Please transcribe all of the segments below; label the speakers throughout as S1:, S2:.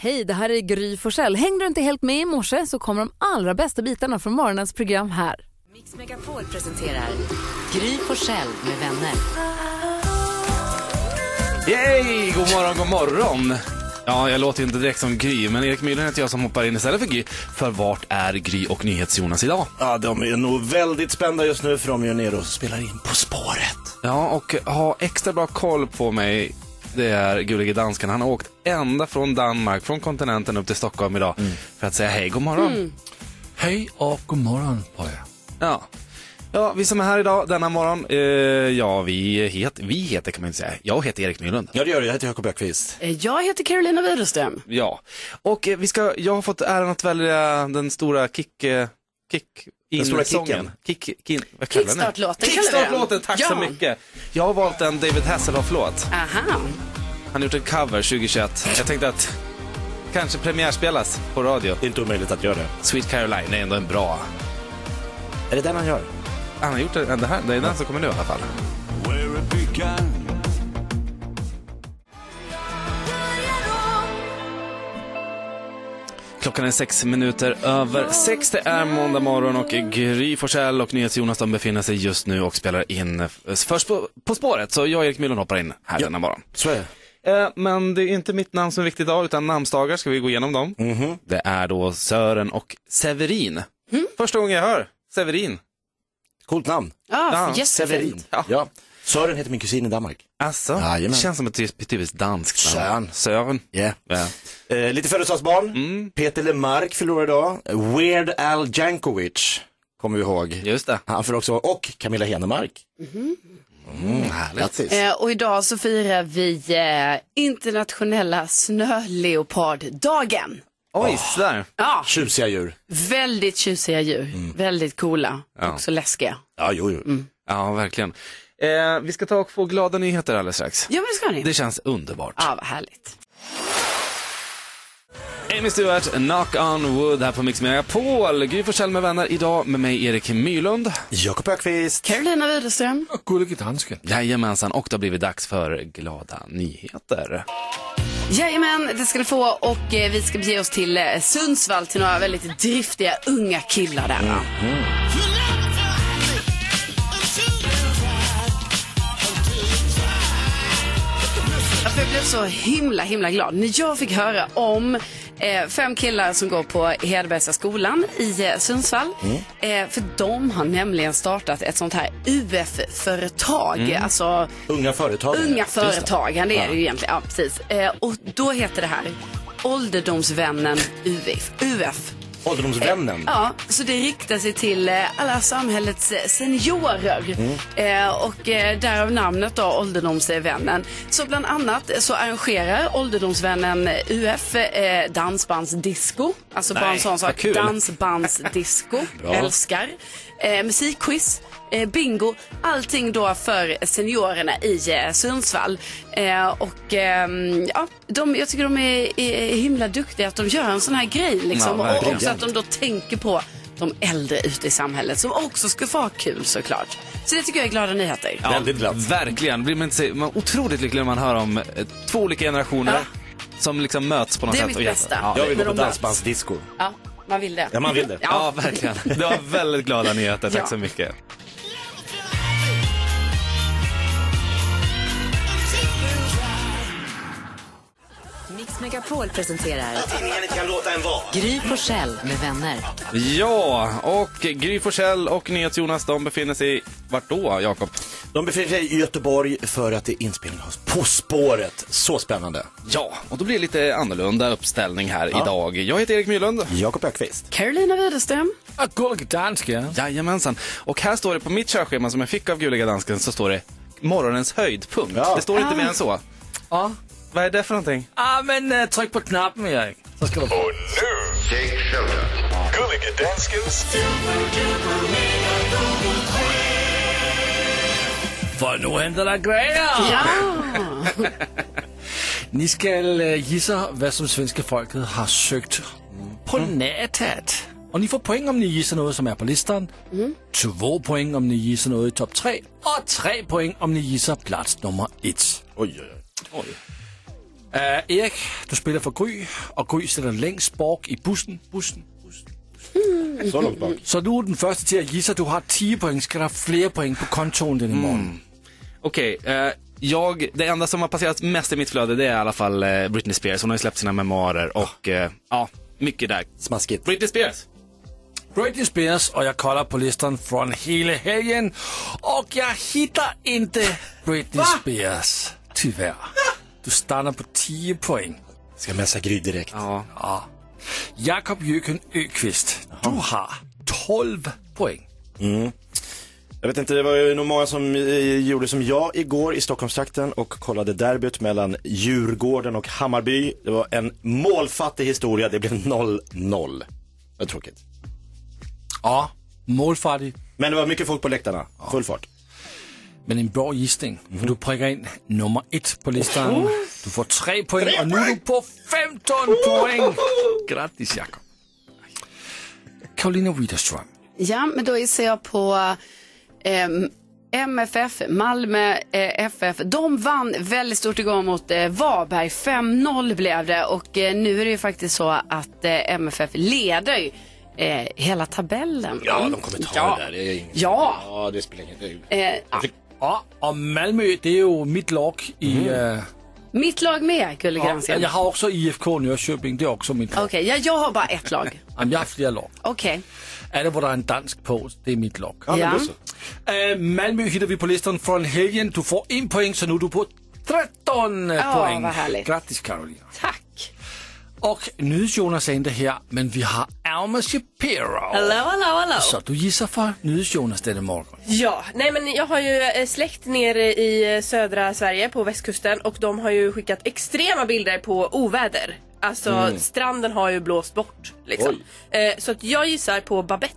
S1: Hej, det här är Gry Forssell. Hängde du inte helt med i morse så kommer de allra bästa bitarna från morgonens program här.
S2: Mix Megapol presenterar Gry Forssell med vänner.
S3: Yay! God morgon, god morgon! Ja, jag låter ju inte direkt som Gry, men Erik Myhren heter jag som hoppar in istället för Gry. För vart är Gry och NyhetsJonas idag?
S4: Ja, de är nog väldigt spända just nu för de är ju nere och spelar in På spåret.
S3: Ja, och ha extra bra koll på mig. Det är Gulige Dansken. Han har åkt ända från Danmark, från kontinenten upp till Stockholm idag för att säga hej, god morgon.
S5: Hej och god morgon på er.
S3: Ja. ja, vi som är här idag denna morgon, eh, ja, vi, het, vi heter kan man inte säga. Jag heter Erik Nylund.
S4: Ja, det gör det. Jag heter Jakob Ökvist.
S6: Jag heter Carolina Widerström.
S3: Ja, och eh, vi ska, jag har fått äran att välja den stora kick, eh, kick in
S4: stora
S3: sången.
S4: kicken.
S3: Kick, kin, vad kallar vi den?
S6: Kickstart-låten kallar vi den.
S3: Kickstart-låten, tack så
S6: Ja.
S3: mycket. Jag har valt en David Hasselhoff-låt.
S6: Aha.
S3: Han har gjort en cover 2021. Jag tänkte att kanske premiärspelas på radio.
S4: Det är inte omöjligt att göra det.
S3: Sweet Caroline är ändå en bra.
S4: Är det den han gör?
S3: Han har gjort en, det här, det är den som kommer nu i alla fall. Klockan är sex minuter över sex. Det är måndag morgon och Gry Forssell och NyhetsJonas de befinner sig just nu och spelar in eh, först på, på spåret. Så jag och Erik Myhlund hoppar in här denna morgon.
S4: Så är det.
S3: Eh, Men det är inte mitt namn som är viktigt idag, utan namnsdagar ska vi gå igenom dem. Mhm. Det är då Sören och Severin. Första gången jag hör Severin.
S4: Coolt namn.
S6: Ja,
S3: Ja,
S6: jättefint.
S3: Ja.
S4: Ja. Sören heter min kusin i Danmark.
S3: Alltså,
S4: Jajamän.
S3: det känns som ett typiskt typiskt danskt namn.
S4: Sören.
S3: Sören.
S4: Yeah.
S3: Ja.
S4: Eh, lite födelsedagsbarn. Peter Lemark förlorar idag. Weird Al Jankovic kommer vi ihåg.
S3: Just det.
S4: Han för också, och Camilla Henemark. Mm, Mm-hmm. Grattis.
S6: Eh, och idag så firar vi eh, internationella snöleoparddagen.
S3: Oj, sådär.
S6: Ja, Mm.
S4: Tjusiga djur.
S6: väldigt tjusiga djur. Väldigt coola. Också läskiga.
S4: Ja, jo, jo.
S3: Ja, verkligen. Eh, vi ska ta och få glada nyheter alldeles strax.
S6: Ja, men det ska ni.
S3: Det känns underbart.
S6: Ja, vad härligt.
S3: Amy Stewart, Knock on Wood här på Mix Megapol. Gry Forssell med vänner idag med mig Erik Mylund.
S4: Jakob Ökvist.
S6: Carolina Widerström.
S5: Gullige dansken.
S3: Jajamensan, och det har blivit dags för glada nyheter.
S6: Jajamän, det ska ni få. Och eh, vi ska bege oss till eh, Sundsvall till några väldigt driftiga unga killar där. va? Alltså, jag blev så himla, himla glad när jag fick höra om eh, fem killar som går på Hedbergska skolan i eh, Sundsvall. Eh, för de har nämligen startat ett sånt här UF-företag. Alltså
S4: Unga företagare.
S6: Unga
S4: Just det.
S6: företagande är det ju egentligen. Ja, precis. Eh, och då heter det här Ålderdomsvännen UF. UF.
S4: Ålderdomsvännen.
S6: Ja, så det riktar sig till eh, alla samhällets eh, seniorer. Eh, och eh, därav namnet då, Ålderdomsvännen. Så bland annat så arrangerar Ålderdomsvännen UF eh, dansbandsdisco. Alltså bara en sån
S3: vad
S6: sak.
S3: kul.
S6: Dansbandsdisco. Älskar. Eh, musikquiz. eh, Bingo, allting då för seniorerna i eh, Sundsvall. Eh, och ehm, ja, de, jag tycker de är, är himla duktiga att de gör en sån här grej. Liksom.
S3: Ja,
S6: och
S3: verkligen.
S6: också att de då tänker på de äldre ute i samhället som också ska få ha kul såklart. Så det tycker jag är glada nyheter.
S4: Väldigt glatt.
S3: Verkligen. Blir man, inte, sig- man är otroligt lycklig när man hör om eh, två olika generationer som liksom möts på något
S6: Det är
S3: sätt.
S6: mitt
S3: och hjälper.
S6: bästa.
S3: Ja,
S4: Jag vill gå
S6: När
S4: på
S6: de möts.
S4: dansbandsdisco.
S6: Ja, man vill det.
S4: Ja, man vill det.
S3: ja, verkligen. Det var väldigt glada nyheter. Tack
S6: Ja.
S3: så mycket.
S2: Mix Megapol presenterar
S4: Tidningen kan låta en vara.
S2: Gry Forssell med vänner.
S3: Ja, och Gry Forssell och NyhetsJonas, de befinner sig vart då, Jakob?
S4: De befinner sig i Göteborg för att det är inspelning av På spåret. Så spännande.
S3: Ja, och då blir det lite annorlunda uppställning här idag. Jag heter Erik Mylund.
S4: Jakob Ökvist.
S6: Carolina Widerström.
S5: Ah, Gullige dansken.
S3: Jajamensan. Och här står det på mitt körschema som jag fick av Guliga Dansken så står det morgonens höjdpunkt.
S4: Ja.
S3: Det står inte mer än så.
S5: Ja.
S3: Vad är det för någonting?
S5: Ah, men eh, tryck på knappen Erik. Så ska du få.
S7: Och nu, take shelter. Gullige danskens...
S5: För nu händer det grejer.
S6: Ja.
S5: Ni ska eh, gissa vad som svenska folket har sökt på nätet. Och ni får poäng om ni gissar något som är på listan. Två poäng om ni gissar något i topp tre. Och tre poäng om ni gissar plats nummer ett.
S4: Oj, oj, oj.
S5: Uh, Erik, du spiller for Gry, og Gry sætter længst borg i bussen. bussen.
S4: Så långt bak.
S5: Så du er den første til at give sig. Du har 10 point. Skal der have flere point på kontoen den i morgen?
S3: Okej, eh, jag, det enda som har passerat mest i mitt flöde det är i alla fall eh, Britney Spears. Hon har ju släppt sina memoarer och eh, ja, mycket där.
S4: Smaskigt.
S3: Britney Spears!
S5: Britney Spears, och jag kollar på listan från hela helgen. Och jag hittar inte Britney Spears, tyvärr. Du stannar på 10 poäng.
S4: Ska messa Gry direkt.
S3: Ja.
S5: Jakob Jöken Öqvist, du har 12 poäng.
S4: Jag vet inte, det var ju nog många som eh, gjorde som jag igår i Stockholmstrakten och kollade derbyt mellan Djurgården och Hammarby. Det var en målfattig historia, det blev 0-0. Det var tråkigt.
S5: Ja, målfattig,
S4: Men det var mycket folk på läktarna, full fart.
S5: men en bra gissning. För du prickar in nummer ett på listan. Du får 3 poäng och nu är du på 15 poäng. Grattis Jakob. Karolina Widerström.
S6: Ja, men då ser jag på ehm, MFF, Malmö eh, FF. De vann väldigt stort igår mot eh, Varberg. 5-0 blev det och eh, nu är det ju faktiskt så att eh, MFF leder ju, eh, hela tabellen.
S4: Ja, de kommer ta
S6: Ja.
S4: det där. Det är inget.
S6: Ja.
S4: ja, det spelar inget. det-
S6: Eh, ja.
S5: Ja, och Malmö, det är ju mitt lag i... eh,
S6: Mitt lag med, Gullig
S5: ja,
S6: Gransén.
S5: jag har också IFK Norrköping, det är också mitt
S6: Okej,
S5: lag.
S6: ja, jag har bara ett lag.
S5: Jamen, Jag har flera lag.
S6: Okej.
S5: Alla där det är en dansk på, det är mitt lag.
S4: Ja, men
S6: Ja.
S4: då så.
S5: Uh, Malmö hittar vi på listan från helgen. Du får en poäng, så nu är du på 13
S6: Åh,
S5: poäng.
S6: vad härligt.
S5: Grattis Karolina.
S6: Tack.
S5: Och NyhetsJonas är inte här, men vi har Alma Shapiro.
S8: Hallå, hallå, hallå.
S5: Så du gissar för NyhetsJonas denna morgon.
S8: Ja, nej men jag har ju eh, släkt nere i eh, södra Sverige på västkusten och de har ju skickat extrema bilder på oväder. Alltså stranden har ju blåst bort liksom. Eh, så att jag gissar på Babette.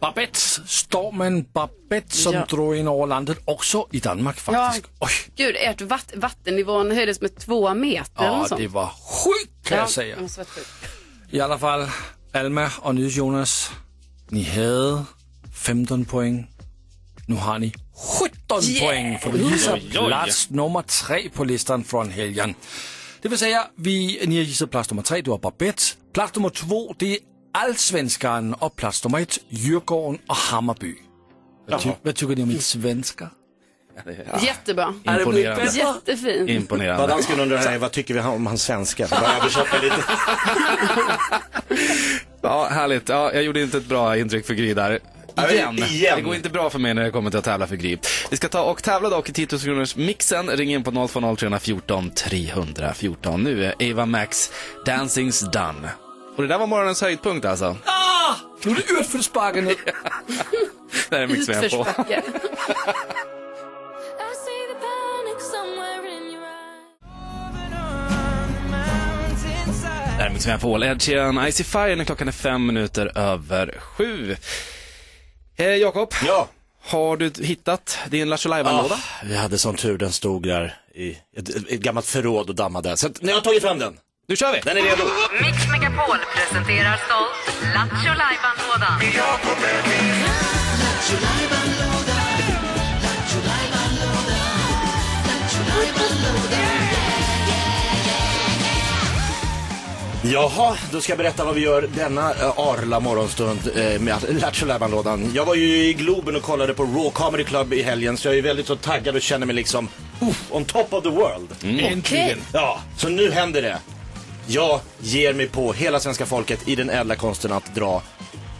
S5: Babette, stormen Babette som
S8: Ja.
S5: drog in över landet också i Danmark faktiskt. Oj,
S6: Gud, ert vatt- vattennivån höjdes med två meter eller
S5: ja,
S6: något sånt.
S5: det var sjukt kan jag säga.
S6: det måste varit sjukt.
S5: I alla fall, Alma och Nils Jonas, ni hade 15 poäng. Nu har ni 17 poäng för du gissar
S3: Oj, oj, oj.
S5: plats nummer tre på listan från helgen. Det vill säga, vi, ni har gissat plats nummer tre, du har Babette. Plats nummer två, det är Allsvenskan och plats nummer ett, Djurgården och Hammarby. Vad, ty- vad tycker ni om mitt svenska?
S6: Jättebra.
S3: Imponerande.
S6: Jättefint.
S4: Vad
S3: Imponerande.
S4: dansken undrar här, vad tycker vi om hans svenska? Bara översätta lite.
S3: Ja, härligt. Ja, jag gjorde inte ett bra intryck för Gry där.
S4: Nej,
S3: Igen.
S4: igen.
S3: Det går inte bra för mig när det kommer till att tävla för Gry. Vi ska ta och tävla dock i 10 000 kronors mixen. Ring in på 020 314 314. Nu är Ava Max Dancing's Done. Och det där var morgonens höjdpunkt alltså.
S5: Ah! Nu är det utförsbacke nu.
S3: Det här är Mix på.
S6: Utförsbacke.
S3: Det här är Mix Megapol, Ed Sheeran, Icy Fire när klockan är fem minuter över sju. Eh, Jakob,
S4: Ja.
S3: har du hittat din Lattjo Lajban-låda?
S4: Ah, Vi hade sån tur, den stod där i ett, ett gammalt förråd och dammade. Så att, nu har jag tagit fram den.
S3: Nu kör vi!
S4: Den är redo.
S2: Mix Megapol presenterar stolt Lattjo Lajban-lådan.
S4: Jaha, då ska jag berätta vad vi gör denna eh, arla morgonstund eh, med att- Lattjo Lajban-lådan. Jag var ju i Globen och kollade på Raw Comedy Club i helgen så jag är väldigt så taggad och känner mig liksom uff, on top of the world.
S5: Äntligen.
S4: Ja, så nu händer det. Jag ger mig på hela svenska folket i den ädla konsten att dra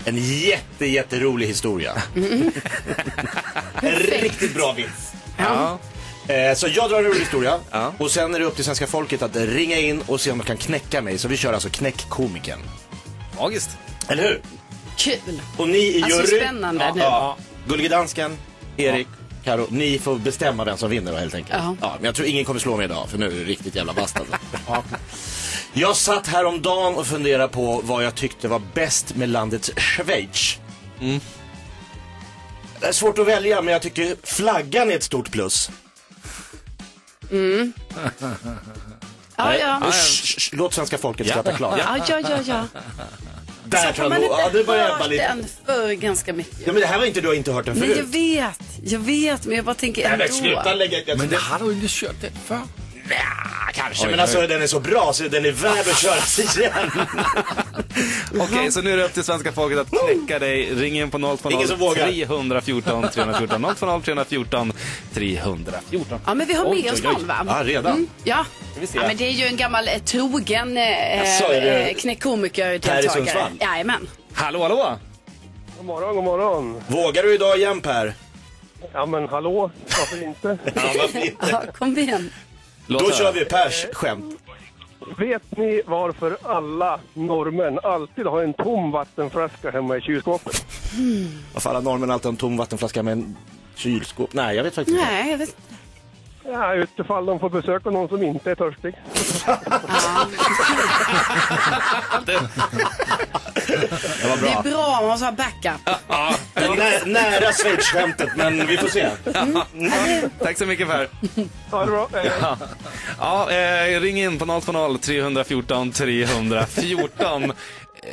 S4: en jätte, jätterolig historia. en riktigt bra vits.
S3: Ja.
S4: Eh, Så jag drar en rolig historia
S3: Ja.
S4: och sen är det upp till svenska folket att ringa in och se om de kan knäcka mig. Så vi kör alltså knäck komikern.
S3: Magiskt.
S4: Eller hur?
S6: Kul.
S4: Och ni i
S6: Alltså
S4: jury,
S6: spännande nu.
S4: ja, Gullige Dansken, Erik, Karo, ni får bestämma vem som vinner då helt enkelt.
S6: Ja.
S4: Ja, men jag tror ingen kommer slå mig idag för nu är det riktigt jävla bast alltså. Jag satt häromdagen och funderade på vad jag tyckte var bäst med landet Schweiz.
S6: Mm.
S4: Det är svårt att välja men jag tycker flaggan är ett stort plus.
S6: Ja, ja.
S4: Och sh, sh, sh, låt svenska folket skratta klart.
S6: Ja, ja, ja, ja.
S4: Där kan
S6: Man
S4: du, ja,
S6: har
S4: du
S6: inte
S4: börjar ebba
S6: hört
S4: lite.
S6: den för ganska mycket.
S4: Ja, men det här var inte du har inte hört den
S6: Nej, jag
S4: förut.
S6: vet. Jag vet, men jag bara tänker
S4: Nej, men
S6: ändå.
S4: sluta lägga...
S5: Men det har du inte kört den för.
S4: Nja, kanske.
S3: Oj,
S4: men alltså
S3: oj.
S4: den är så bra så den är värd att köras igen.
S3: Okej, så nu är det upp till svenska folket att knäcka dig. Ring in på 020
S4: Ingen som vågar.
S3: 314 314 020 314 314.
S6: Ja, men vi har med oss någon, va?
S3: Ja, redan.
S6: Ja. ja, men det är ju en gammal eh, trogen eh,
S4: Jaså, är det-
S6: eh,
S4: Här i
S6: knäckkomiker-deltagare.
S4: Sundsvall?
S6: Jajamän.
S3: Hallå, hallå!
S9: God morgon, god morgon.
S4: Vågar du idag igen Per?
S9: Ja, men hallå, varför inte?
S4: Ja, varför inte?
S6: Ja, kom igen.
S3: Låt
S4: Då
S3: höra.
S4: kör vi Pers skämt.
S9: Vet ni varför alla norrmän alltid har en tom vattenflaska hemma i kylskåpet?
S4: Varför alla norrmän alltid har en tom vattenflaska med en kylskåp? Nej, jag vet faktiskt inte.
S6: Nej, jag vet
S9: Ja, utifall de får besöka någon som inte är törstig.
S4: Det var
S6: Det är
S4: bra.
S6: bra om man har backup.
S4: Det var nä- nära Schweiz-skämtet, men vi får se.
S3: Tack så mycket Per.
S9: Ha det bra. Eh,
S3: Ja, eh, ring in på 020 314 314. Eh,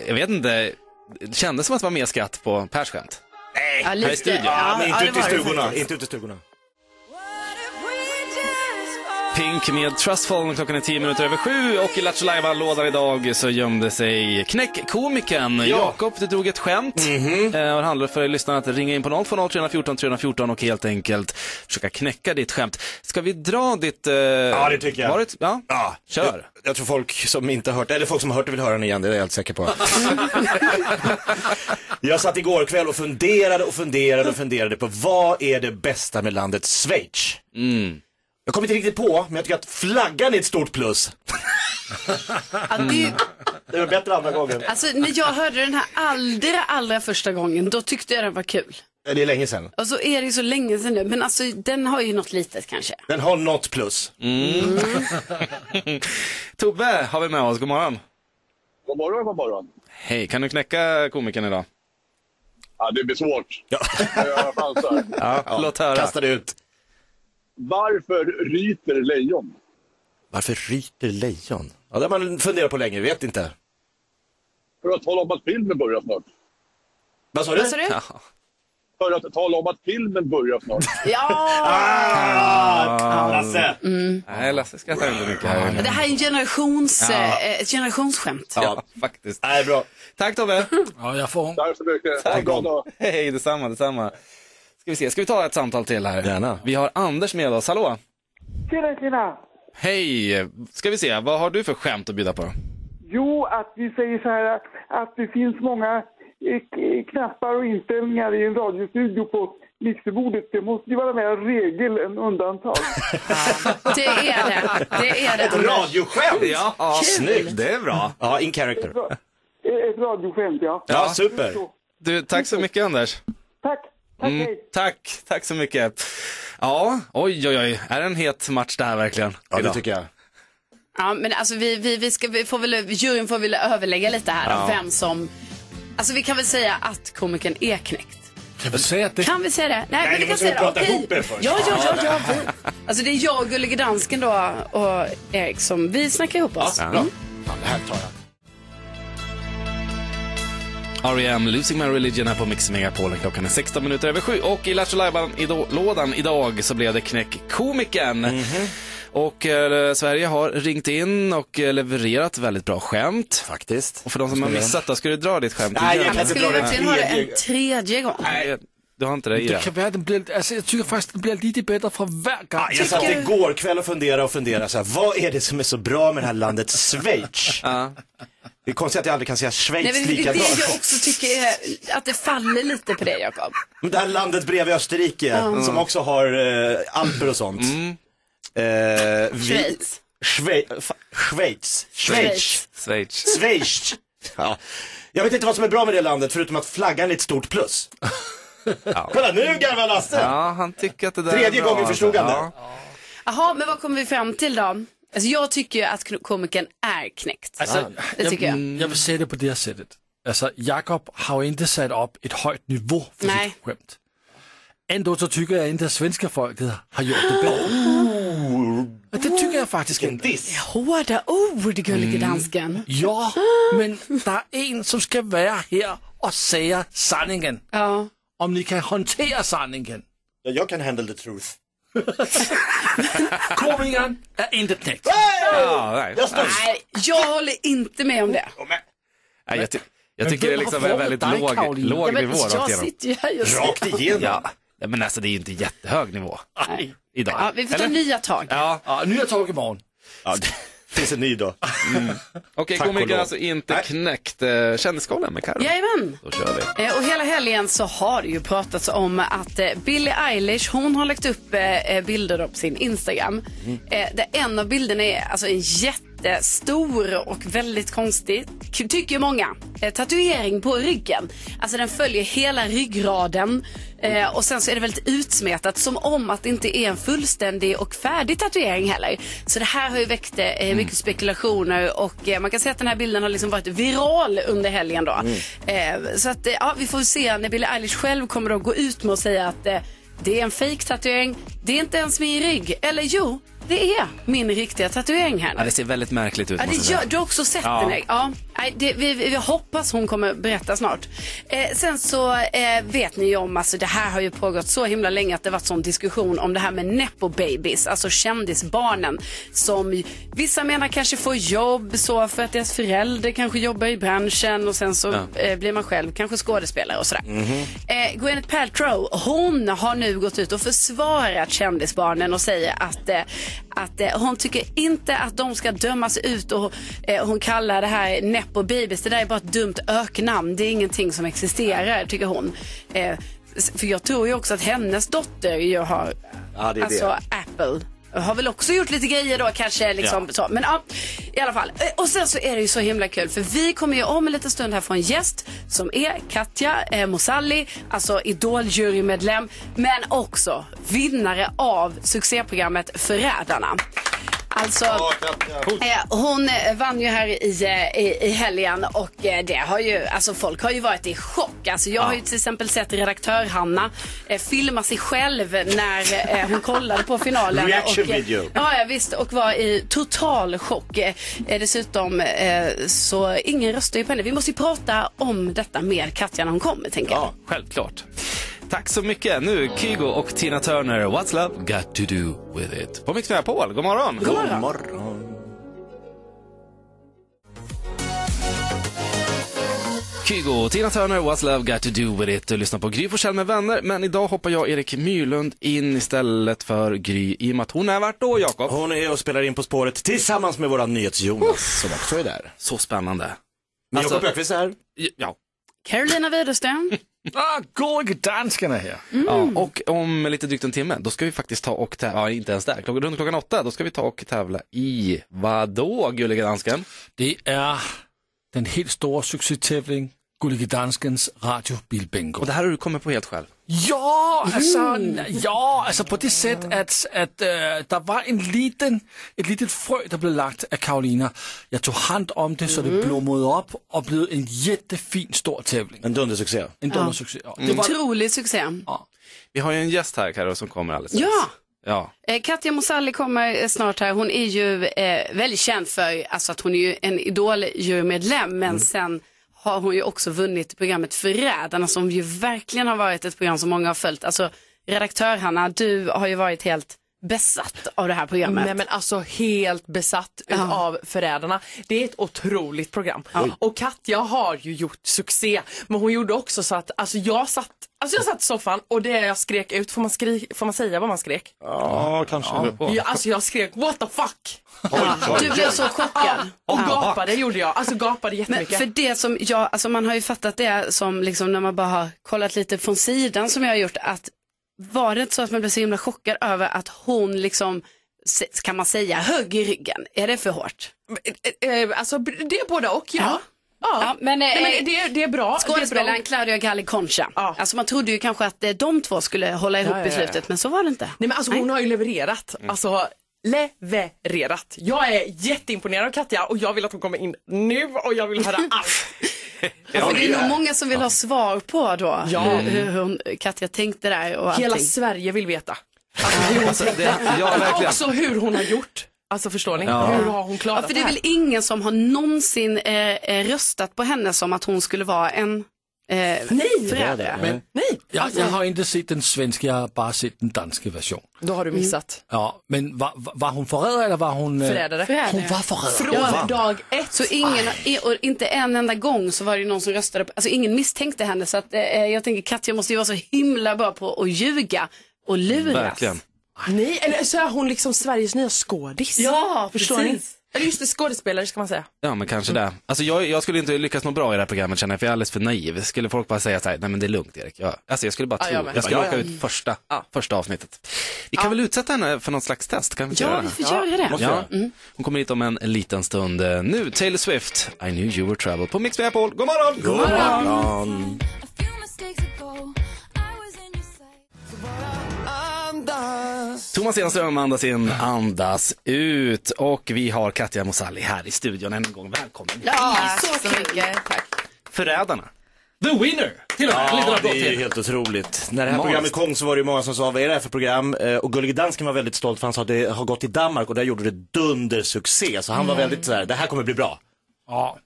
S3: Jag vet inte, det kändes som att det var mer skratt på Pers skämt.
S6: Ja,
S4: Här i
S6: lite.
S4: studion.
S6: Ja,
S4: men
S6: ja,
S4: inte
S6: det
S4: ute i
S6: var det
S4: stugorna.
S6: faktiskt.
S4: Inte ute i stugorna.
S3: Pink med Trustfall, klockan är 10 minuter över sju och i Lattjo Lajban-lådan idag så gömde sig knäckkomikern Jakob. Du drog ett skämt Eh, och det handlar för lyssnarna att ringa in på 020 314 314 och helt enkelt försöka knäcka ditt skämt. Ska vi dra ditt... Ja,
S4: det tycker jag.
S3: Var det, ett- ja?
S4: Ja,
S3: Kör.
S4: Jag, jag tror folk som inte har hört, eller folk som har hört det vill höra den igen, det är jag helt säker på. jag satt igår kväll och funderade och funderade och funderade på vad är det bästa med landet Schweiz?
S3: Mm.
S4: Jag kommer inte riktigt på, men jag tycker att flaggan är ett stort plus.
S6: Ja, det är
S4: Mm.
S6: ju-
S4: Det var bättre andra gången.
S6: Alltså, när jag hörde den här allra, allra första gången, då tyckte jag den var kul.
S4: Det är länge sedan.
S6: Och så är det ju så länge sedan nu, men alltså den har ju något litet kanske.
S4: Den har något plus.
S3: Mm. Tobbe har vi med oss, god morgon.
S9: God morgon, god morgon.
S3: Hej, kan du knäcka komikern idag?
S9: Ja, det blir svårt.
S4: Ja.
S9: Jag chansar.
S3: Ja, låt höra.
S4: Kasta det ut.
S9: Varför ryter lejon?
S4: Varför ryter lejon? Ja, det har man funderat på länge, vet inte.
S9: För att tala om att filmen börjar snart.
S4: Vad sa du?
S6: Vad sa du?
S9: För att tala om att filmen börjar snart.
S6: Ja!
S4: Lasse.
S3: Nej, Lasse skrattar inte mycket här inne.
S6: Det här är en generations,
S3: Ja.
S6: eh, ett generationsskämt.
S3: Ja, faktiskt.
S4: Nej, bra.
S3: Tack Tobbe.
S5: Ja, jag får...
S9: Tack så mycket. Ha en bra dag.
S3: Hej, detsamma, detsamma. Ska vi se, ska vi ta ett samtal till här?
S4: Gärna.
S3: Vi har Anders med oss, hallå? Tjena, tjena. Hej, ska vi se, vad har du för skämt att bjuda på?
S10: Jo, att vi säger så här att, att det finns många eh, k- knappar och inställningar i en radiostudio på mixerbordet. Det måste ju vara mer regel än undantag.
S6: Det är det. Det är det. Anders.
S4: Radioskämt!
S3: Ja,
S4: Snyggt.
S3: Det är bra.
S4: Ja, in character.
S10: Eh, Ett radioskämt, ja.
S4: Ja, super.
S3: Du, tack så mycket Anders.
S10: Tack! Tack,
S3: Mm.
S10: hej!
S3: Tack, tack så mycket. Ja, oj, oj, oj. Är det en het match det här verkligen?
S4: Ja, det
S3: idag?
S4: tycker jag.
S6: Ja, men alltså vi, vi, vi, ska, vi får väl, juryn får väl överlägga lite här om vem som... Alltså vi kan väl säga att komikern är knäckt.
S5: Kan vi säga att det...
S6: Kan vi säga det? Nej, men vi
S4: ni
S6: kan
S4: måste
S6: säga det.
S4: väl prata
S6: Okej.
S4: ihop er först.
S6: Ja, ja, ja, ja. Vi. Alltså det är jag, Gullige Dansken då och Erik som vi snackar ihop oss. Mm.
S3: Ja. R.E.M. E Losing My Religion här på Mix Megapolen. Klockan är 16 minuter över sju och i Lattjo Lajban-lådan idag så blev det knäck komikern. Och eh, Sverige har ringt in och eh, levererat väldigt bra skämt.
S4: Faktiskt.
S3: Och för de som har missat då, ska du dra ditt skämt
S4: Nej,
S3: igen?
S4: jag kan
S6: Men
S4: inte
S6: ska
S4: dra
S6: vi verkligen
S4: den
S6: ha det
S4: tredje.
S6: en tredje gång?
S3: Nej, du har inte det i
S5: Det
S3: det.
S5: kan vara, den blir... Alltså, jag tycker faktiskt den blir lite bättre för varje gång.
S4: Ah, Jag satt igår kväll och funderade och funderade så här, vad är det som är så bra med det här landet Schweiz? Det är konstigt att jag aldrig kan säga
S6: Nej,
S4: Schweiz
S6: men det är
S4: lika bra.
S6: det jag också tycker är att det faller lite på dig, Jakob.
S4: Men det här landet bredvid Österrike,
S6: Mm.
S4: som också har eh, alper och sånt. Eh, vi-
S6: Schweiz.
S4: Schwe- Mm. fa- Schweiz. Schweiz.
S3: Schweiz.
S4: Schweiz. Ja. Jag vet inte vad som är bra med det landet, förutom att flaggan är ett stort plus. Kolla, nu garvar Lasse!
S3: Ja, han tycker att det där
S4: Tredje
S3: är bra,
S4: gången förstod han
S3: alltså.
S4: det.
S6: Jaha, men vad kommer vi fram till då? Alltså jag tycker ju att k- komikern är knäckt.
S4: Alltså,
S6: det tycker
S4: Mm.
S6: jag.
S5: Jag vill säga det på det här sättet. Alltså, Jakob har ju inte satt upp ett högt nivå för
S6: Nej.
S5: sitt skämt. Ändå så tycker jag inte att svenska folket har gjort det bättre. Och Uh. Det tycker jag faktiskt inte.
S4: Diss.
S6: Hårda ord,
S4: Mm.
S6: gullige dansken.
S5: Ja, men det är en som ska vara här och säga sanningen.
S6: Ja.
S5: Om ni kan hantera sanningen.
S4: Jag kan handle the truth.
S5: Komikern är inte knäckt.
S3: Ja, nej.
S6: Nej, jag håller inte med om det.
S3: Nej, jag, ty- jag
S5: Men
S3: tycker det är
S5: vem har
S3: liksom en
S5: valt
S3: väldigt
S5: dig,
S3: låg,
S5: Karolina?
S3: låg
S6: Ja, men
S3: nivå rakt
S6: jag
S3: igenom.
S6: sitter ju här just nu.
S4: igenom?
S3: Ja, Nej, men alltså det är ju inte jättehög nivå
S6: Nej.
S3: idag.
S6: Ja, vi får ta
S3: Eller?
S6: nya tag.
S3: Ja,
S5: Ja, nya tag imorgon.
S4: Ja, det finns en ny då.
S3: Ah, okej,
S4: Tack och
S3: komikern
S4: lov.
S3: alltså inte knäckt eh, kändiskollen med Carro.
S6: Jajamän.
S3: Då kör vi.
S6: Eh, Och hela helgen så har det ju pratats om att eh, Billie Eilish, hon har lagt upp eh, eh, bilder på sin Instagram. Eh, Där en av bilderna är alltså en jättestor och väldigt konstig, k- tycker många, eh, tatuering på ryggen. Alltså den följer hela ryggraden eh, och sen så är det väldigt utsmetat som om att det inte är en fullständig och färdig tatuering heller. Så det här har ju väckt eh, mycket spekulationer och eh, man kan säga att den här bilden har liksom varit viral under helgen då. Eh, så att eh, ja, vi får se när Billie Eilish själv kommer att gå ut med att säga att eh, det är en fake tatuering det är inte ens min rygg. Eller jo, det är min riktiga tatuering här nu.
S3: Ja, det ser väldigt märkligt ut
S6: Ja,
S3: måste jag
S6: det
S3: säga.
S6: gör, du har också sett
S3: Ja.
S6: den? Erik. Ja. Nej, det, vi, vi vi hoppas hon kommer berätta snart. Eh, sen så eh, vet ni ju om, alltså, det här har ju pågått så himla länge att det varit sån diskussion om det här med nepo babies, alltså kändisbarnen som ju- vissa menar kanske får jobb så för att deras förälder kanske jobbar i branschen och sen så eh, blir man själv kanske skådespelare och sådär. Eh, Gwyneth Paltrow, hon har nu gått ut och försvarat kändisbarnen och säger att, eh, att eh, hon tycker inte att de ska dömas ut och eh, hon kallar det här nepo babies. Det där är bara ett dumt öknamn. Det är ingenting som existerar, tycker hon. Eh, s- för jag tror ju också att hennes dotter ju har,
S4: Ja, det är
S6: alltså Apple, har väl också gjort lite grejer då kanske. Liksom, så. Men ja, i alla fall. Eh, Och sen så är det ju så himla kul för vi kommer ju om en liten stund här få en gäst som är Katja eh, Mosalli, alltså Idol-jurymedlem, men också vinnare av succéprogrammet Förrädarna. Alltså, Eh, Hon eh, vann ju här i, eh, i, i helgen och eh, det har ju, alltså folk har ju varit i chock. Alltså jag har ju till exempel sett redaktör Hanna eh, filma sig själv när eh, hon kollade på finalen.
S4: Reaction
S6: och, eh,
S4: video.
S6: Ja, ja, visst. Och var i total chock. Eh, eh, dessutom eh, så ingen röstar ju på henne. Vi måste ju prata om detta med Katja när hon kommer, tänker jag.
S3: Ja, självklart. Tack så mycket. Nu Kygo och Tina Turner, What's Love Got To Do With It. På Mix Megapol, god morgon.
S4: God morgon.
S3: Kygo och Tina Turner, What's Love Got To Do With It. Du lyssnar på Gry Forssell med vänner, men idag hoppar jag Erik Myrlund in istället för Gry i och med att hon är vart då, Jakob?
S4: Hon är och spelar in På spåret tillsammans med våran nyhets-Jonas som också är där.
S3: Så spännande.
S4: Men
S3: Alltså-
S4: Jakob Björkqvist är här.
S3: Ja.
S6: Carolina Widerström.
S5: Ah, gullige dansken är här.
S3: ja. Och om lite drygt en timme, då ska vi faktiskt ta och tävla, ja inte ens där, klockan, runt klockan åtta, då ska vi ta och tävla i vadå, gulliga dansken?
S5: Det är den helt stora succétävling Gullige Danskens radiobilbingo.
S3: Och det här har du kommit på helt själv.
S5: Ja, alltså, ja, alltså på det sätt att, att äh, det var en liten, ett litet frö som blev lagt av Karolina. Jag tog hand om det så det blommade upp och blev en jättefin stor tävling.
S4: En dundersuccé.
S5: En dundersuccé. Ja.
S4: Mm.
S5: Det var,
S6: Otrolig succé.
S3: Vi har ju en gäst här, Karo, som kommer alldeles strax.
S6: Ja.
S3: Ja.
S6: Eh, Katja Mosalli kommer eh, snart här. Hon är ju eh, väldigt känd för alltså, att hon är ju en idol-jurymedlem, men sen har hon ju också vunnit programmet Förrädarna som ju verkligen har varit ett program som många har följt. Alltså, redaktör Hanna, du har ju varit helt besatt av det här programmet.
S11: Nej men alltså helt besatt av Förrädarna. Det är ett otroligt program. Och Katja har ju gjort succé. Men hon gjorde också så att, alltså jag satt, alltså jag satt i soffan och det jag skrek ut, får man, skri- får man säga vad man skrek?
S4: Ja, kanske.
S11: Jag, alltså jag skrek what the fuck!
S6: du blev så chockad.
S11: Och gapade gjorde jag, alltså gapade
S6: Men
S11: jättemycket.
S6: för det som jag, alltså man har ju fattat det som liksom när man bara har kollat lite från sidan som jag har gjort att var det inte så att man blev så himla chockad över att hon liksom, se- kan man säga, högg i ryggen? Är det för hårt?
S11: Eh, eh, Alltså det är båda och ja.
S6: Ja.
S11: ja.
S6: Ja, men, eh,
S11: Nej, men det, det är bra. det är bra.
S6: Skådespelaren Claudio Galli Concha.
S11: Ja.
S6: Alltså man trodde ju kanske att eh, de två skulle hålla ihop
S11: Ja, ja,
S6: i
S11: ja.
S6: slutet men så var det inte.
S11: Nej men alltså hon har ju levererat. Alltså levererat. Jag är jätteimponerad av Katja och jag vill att hon kommer in nu och jag vill höra allt.
S6: Ja, för det är nog många som vill ha svar på då
S11: Ja.
S6: hur, hur hon, Katja tänkte där och
S11: Hela
S6: allting.
S11: Sverige vill veta. Alltså, hur hon
S3: Alltså, det, ja, verkligen.
S11: Också hur hon har gjort. Alltså förstår ni?
S3: Ja.
S11: Hur har hon klarat
S6: Ja, för det är
S11: här?
S6: väl ingen som har någonsin eh, eh, röstat på henne som att hon skulle vara en Nej! Förrädare.
S5: Men, nej. Jag, jag har inte sett den svenska, jag har bara sett den danska versionen.
S11: Då har du
S6: Mm.
S11: missat.
S5: Ja, men var, var- var hon förrädare eller var hon... eh,
S11: Förrädare.
S5: Hon var förrädare.
S6: Från
S5: Ja.
S6: dag ett. Så ingen, i- och inte en enda gång så var det någon som röstade på, alltså ingen misstänkte henne. Så att, eh, jag tänker Katja måste ju vara så himla bra på att ljuga och luras.
S11: Nej, eller så är hon liksom Sveriges nya skådis.
S6: Ja,
S11: Förstår
S6: precis.
S11: ni? Eller just det, skådespelare ska man säga.
S3: Ja, men kanske det. Alltså jag, jag skulle inte lyckas nå bra i det här programmet känner jag, för jag är alldeles för naiv. Skulle folk bara säga så här, nej men det är lugnt Erik. Jag, alltså jag skulle bara
S11: Ja,
S3: tro,
S11: jag
S3: jag,
S11: med.
S3: skulle
S11: Ja,
S3: åka
S11: ja.
S3: ut första, första avsnittet. Vi kan väl utsätta henne för något slags test? Kan vi inte
S6: Ja,
S3: göra
S6: vi får göra det. Måste
S3: Ja.
S6: göra. Mm.
S3: Hon kommer hit om en liten stund. Eh, Nu Taylor Swift, I knew you were trouble på Mix Megapol. God morgon!
S4: God morgon!
S3: Thomas Enström andas in, andas ut och vi har Katja Mosali här i studion än en gång. Välkommen!
S6: Ja, så mycket.
S3: Förrädarna. The winner! Till och med, en liten
S4: Ja,
S3: applåd
S4: det är ju
S3: till.
S4: helt otroligt. När det här
S3: Magiskt.
S4: programmet kom så var det ju många som sa, vad är det här för program? Eh, Och Gullige Dansken var väldigt stolt för han sa att det har gått i Danmark och där gjorde det dundersuccé. Så han var väldigt sådär, det här kommer bli bra.
S5: Ja,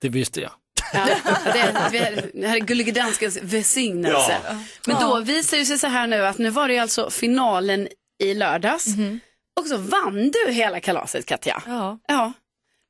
S5: det visste jag.
S6: Det, vi hade- det här är Gullige Danskens välsignelse.
S5: Ja.
S6: Men då visar det sig så här nu att nu var det ju alltså finalen i lördags. Och så vann du hela kalaset Katja.
S12: Mhm. Ja.
S6: ja.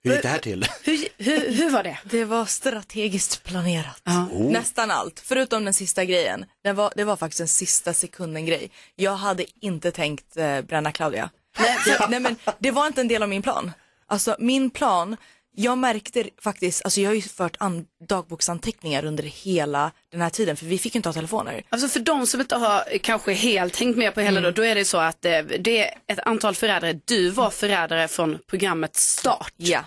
S4: Hur gick det här till?
S6: Hur, hur, hur var det?
S12: Det var strategiskt planerat.
S4: Oh.
S12: Nästan allt, förutom den sista grejen. Det var, det var faktiskt en sista sekunden grej. Jag hade inte tänkt eh, bränna Claudia. Nej, jag, nej men det var inte en del av min plan. Alltså min plan, jag märkte faktiskt, alltså jag har ju fört an- dagboksanteckningar under hela den här tiden för vi fick ju inte ha telefoner.
S6: Alltså för de som inte har eh, kanske helt hängt med på hela
S12: Mm.
S6: då, då är det så att eh, det är ett antal förrädare. Du var förrädare från programmets start.
S12: Ja.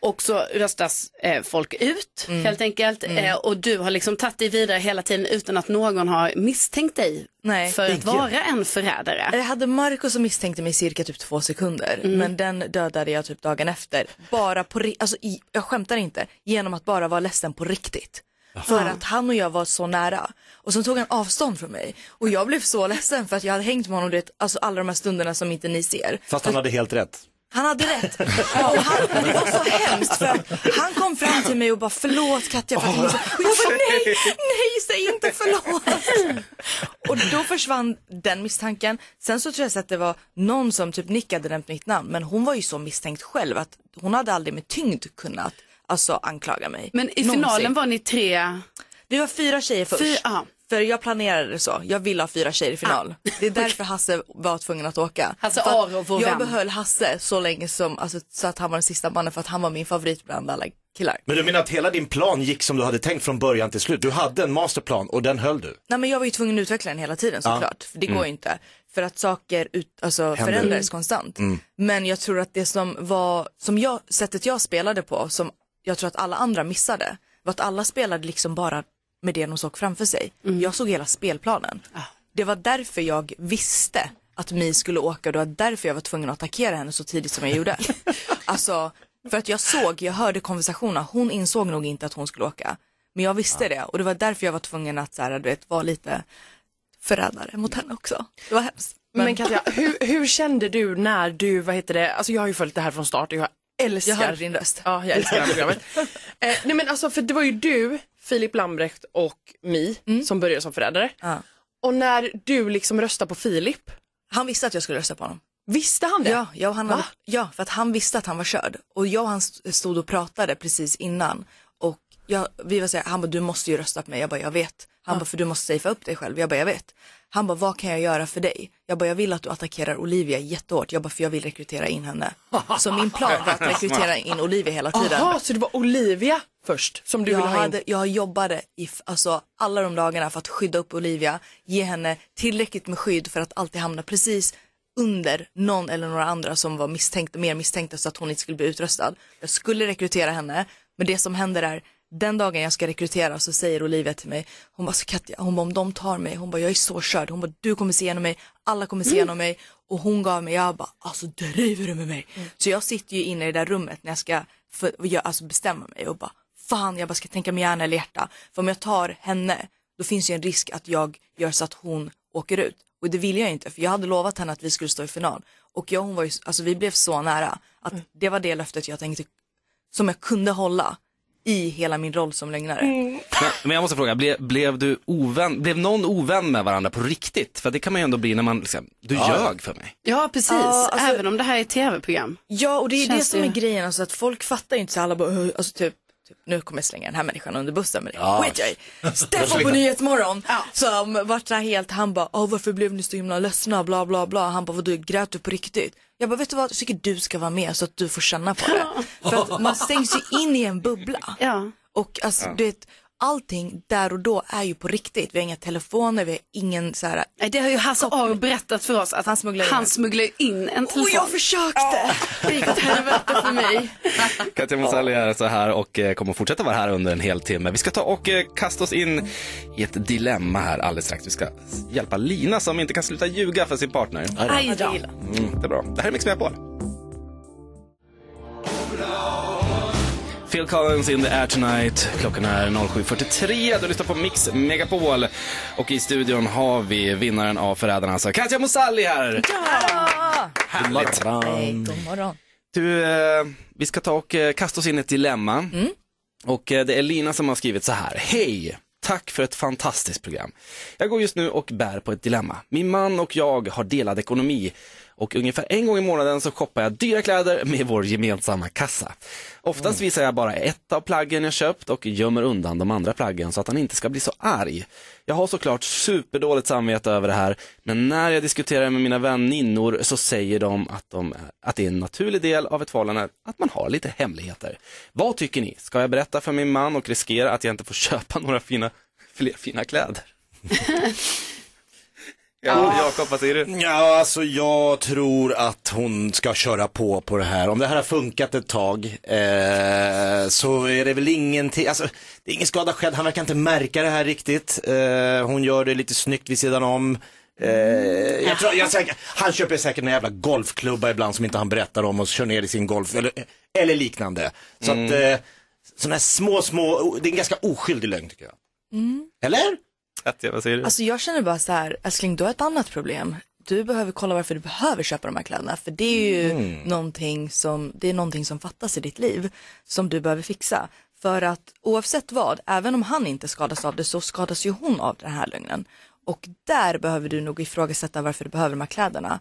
S6: Och så röstas eh, folk ut
S12: Mm.
S6: helt enkelt.
S12: Mm.
S6: Eh, och du har liksom tagit dig vidare hela tiden utan att någon har misstänkt dig
S12: Nej.
S6: för att vara en förrädare.
S12: Jag hade Marco som misstänkte mig i cirka typ två sekunder
S6: Mm.
S12: men den dödade jag typ dagen efter. Bara på ri- alltså i, jag skämtar inte, genom att bara vara ledsen på riktigt. För att han och jag var så nära. Och sen tog han avstånd från mig. Och jag blev så ledsen för att jag hade hängt med honom du vet, alltså alla de här stunderna som inte ni ser.
S4: Fast han hade helt rätt.
S12: Han hade rätt. Ja, och han, men det var så hemskt för att han kom fram till mig och bara förlåt Katja för att jag inte... Och jag bara nej, nej säg inte förlåt. Och då försvann den misstanken. Sen så tror jag så att det var någon som typ Nick hade nämnt mitt namn men hon var ju så misstänkt själv att hon hade aldrig med tyngd kunnat alltså anklaga mig.
S6: Men i finalen var ni tre?
S12: Vi var fyra tjejer först.
S6: Fy- ja.
S12: För jag planerade det så. Jag ville ha fyra tjejer i final. Det är därför Hasse var tvungen att åka.
S6: Hasse
S12: För att
S6: Aro, vår
S12: Jag
S6: vän.
S12: behöll Hasse så länge som, alltså, så att han var den sista mannen för att han var min favorit bland alla killar.
S4: Men du menar att hela din plan gick som du hade tänkt från början till slut? Du hade en masterplan och den höll du?
S12: Nej men jag var ju tvungen att utveckla den hela tiden
S4: Ja.
S12: såklart. För det
S4: Mm.
S12: går ju inte. För att saker ut, alltså, förändras konstant.
S4: Mm.
S12: Men jag tror att det som var, som jag, sättet jag spelade på, som jag tror att alla andra missade, var att alla spelade liksom bara med det de såg framför sig. Jag såg hela spelplanen. Det var därför jag visste att Mi skulle åka, det var därför jag var tvungen att attackera henne så tidigt som jag gjorde. alltså, för att jag såg, jag hörde konversationen, hon insåg nog inte att hon skulle åka. Men jag visste det och det var därför jag var tvungen att så här, du vet, vara lite förrädare mot henne också. Det var hemskt.
S11: Men, Katja, hur, hur kände du när du, vad heter det, alltså jag har ju följt det här från start och jag älskar.
S12: Jag hörde din röst.
S11: Ja, jag älskar det här programmet. eh, nej men alltså för det var ju du, Filip Lambrecht och Mi
S10: Mm.
S11: som började som förrädare. Och när du liksom röstade på Filip.
S12: Han visste att jag skulle rösta på honom.
S11: Visste han det?
S12: Ja, jag och han hade,
S11: Va?
S12: ja, för att han visste att han var körd. Och jag och han st- stod och pratade precis innan. Och jag, vi var så här, han bara, du måste ju rösta på mig. Jag bara, jag vet. Han
S11: Ja.
S12: bara, för du måste safea upp dig själv. Jag bara, jag vet. Han bara, vad kan jag göra för dig? Jag bara, jag vill att du attackerar Olivia jättehårt. Jag bara, för jag vill rekrytera in henne. Så min plan var att rekrytera in Olivia hela tiden.
S11: Jaha, så det var Olivia först som du
S12: jag,
S11: ville ha in?
S12: hade, jag jobbade i, f- alltså, alla de dagarna för att skydda upp Olivia, ge henne tillräckligt med skydd för att alltid hamna precis under någon eller några andra som var misstänkta, mer misstänkta så att hon inte skulle bli utröstad. Jag skulle rekrytera henne, men det som händer är den dagen jag ska rekrytera så säger Olivia till mig, hon bara, så Katja, hon bara, om de tar mig, hon bara, jag är så körd, hon bara, du kommer se igenom mig, alla kommer se
S11: Mm.
S12: igenom mig och hon gav mig, jag bara, alltså driver du med mig?
S11: Mm.
S12: Så jag sitter ju inne i det där rummet när jag ska för, jag, alltså bestämma mig och bara, fan jag bara ska tänka med hjärna eller hjärta. För om jag tar henne, då finns ju en risk att jag gör så att hon åker ut. Och det vill jag inte, för jag hade lovat henne att vi skulle stå i final. Och jag och hon var ju, alltså vi blev så nära att det var det löftet jag tänkte, som jag kunde hålla i hela min roll som lögnare.
S3: Men, men jag måste fråga, blev, blev, du ovän, blev någon ovän med varandra på riktigt? För det kan man ju ändå bli när man liksom, du
S6: Ja.
S3: ljög för mig.
S6: Ja, precis.
S12: Ja, alltså-
S6: Även om det här är ett tv-program.
S12: Ja, och det är
S6: Känns
S12: det som
S6: det-
S12: är grejen, alltså att folk fattar ju inte så alla bara, "Ugh", alltså typ, typ, nu kommer jag slänga den här människan under bussen men det
S2: Ja.
S12: skiter jag i. Steffo på Nyhetsmorgon som vart där helt, han bara, "Åh, varför blev ni så himla ledsna, bla bla bla. Han bara, vadå grät du på riktigt? Jag bara, vet du vad, jag tycker du ska vara med så att du får känna på det. För att man stängs ju in i en bubbla. Och alltså,
S6: Ja.
S12: du vet, allting där och då är ju på riktigt. Vi har inga telefoner, vi har ingen så här.
S6: Nej, det har ju Hasse Aro berättat för oss att han smugglar
S12: in,
S6: Han smugglar in en telefon.
S12: Och jag försökte!
S6: Det gick åt helvete för mig.
S3: Katja Moselli är så här och eh, kommer fortsätta vara här under en hel timme. Vi ska ta och eh, kasta oss in i ett dilemma här alldeles strax. Vi ska hjälpa Lina som inte kan sluta ljuga för sin partner.
S6: Aj då.
S3: Mm, det är bra. Det här är Mix Megapol. Phil Collins in the air tonight. Klockan är 07.43. Du lyssnar på Mix Megapol. Och i studion har vi vinnaren av Förrädarna, alltså Katja Mosalli här. Härligt.
S12: Hej, god morgon.
S3: Du, eh, vi ska ta och eh, kasta oss in i ett dilemma. Och eh, det är Lina som har skrivit så här. Hej! Tack för ett fantastiskt program. Jag går just nu och bär på ett dilemma. Min man och jag har delad ekonomi och ungefär en gång i månaden så shoppar jag dyra kläder med vår gemensamma kassa. Oftast visar jag bara ett av plaggen jag köpt och gömmer undan de andra plaggen så att han inte ska bli så arg. Jag har såklart superdåligt samvete över det här, men när jag diskuterar med mina väninnor så säger de att, de att det är en naturlig del av ett förhållande att man har lite hemligheter. Vad tycker ni? Ska jag berätta för min man och riskera att jag inte får köpa några fina, fler fina kläder? ja, Jakob, vad säger du?
S4: Ja, alltså jag tror att hon ska köra på på det här. Om det här har funkat ett tag eh, så är det väl ingenting, alltså det är ingen skada skedd, han verkar inte märka det här riktigt. Eh, hon gör det lite snyggt vid sidan om. Eh, jag tror, jag, säkert- han köper säkert en jävla golfklubba ibland som inte han berättar om och kör ner i sin golf eller, eller liknande. Så
S3: Mm.
S4: att, eh, sådana här små, små, det är en ganska oskyldig lögn tycker jag.
S12: Mm.
S4: Eller?
S3: Katja, vad säger du?
S12: Alltså jag känner bara så här, älskling du har ett annat problem. Du behöver kolla varför du behöver köpa de här kläderna. För det är ju någonting, som, det är någonting som fattas i ditt liv som du behöver fixa. För att oavsett vad, även om han inte skadas av det så skadas ju hon av den här lögnen. Och där behöver du nog ifrågasätta varför du behöver de här kläderna.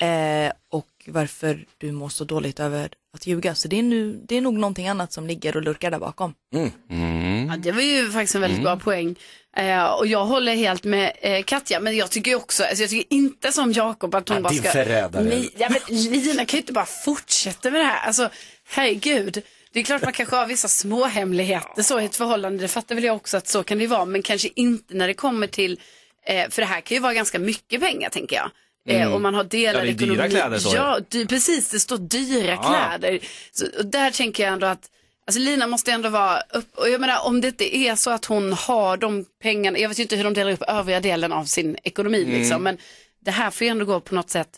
S12: Eh, och varför du mår så dåligt över att ljuga. Så det är, nu, det är nog någonting annat som ligger och lurkar där bakom.
S2: Mm.
S6: Ja, det var ju faktiskt en väldigt bra poäng. Eh, och jag håller helt med eh, Katja, men jag tycker ju också, alltså jag tycker inte som Jakob att hon
S4: Ja,
S6: bara
S4: din
S6: ska...
S4: förrädare.
S6: Li- ja, men Lina kan ju inte bara fortsätta med det här. Alltså, herregud. Det är klart man kanske har vissa små hemligheter så i ett förhållande, det fattar väl jag också att så kan det ju vara, men kanske inte när det kommer till, eh, för det här kan ju vara ganska mycket pengar tänker jag. Eh,
S2: Mm.
S6: Om man har delad
S2: Ja, det är dyra
S6: ekonomi.
S2: kläder, står det.
S6: ja, dy- precis, det står dyra
S2: Ja.
S6: kläder. Så, och där tänker jag ändå att Alltså Lina måste ändå vara upp, och jag menar om det inte är så att hon har de pengarna, jag vet ju inte hur de delar upp övriga delen av sin ekonomi
S2: Mm.
S6: liksom, men det här får ju ändå gå på något sätt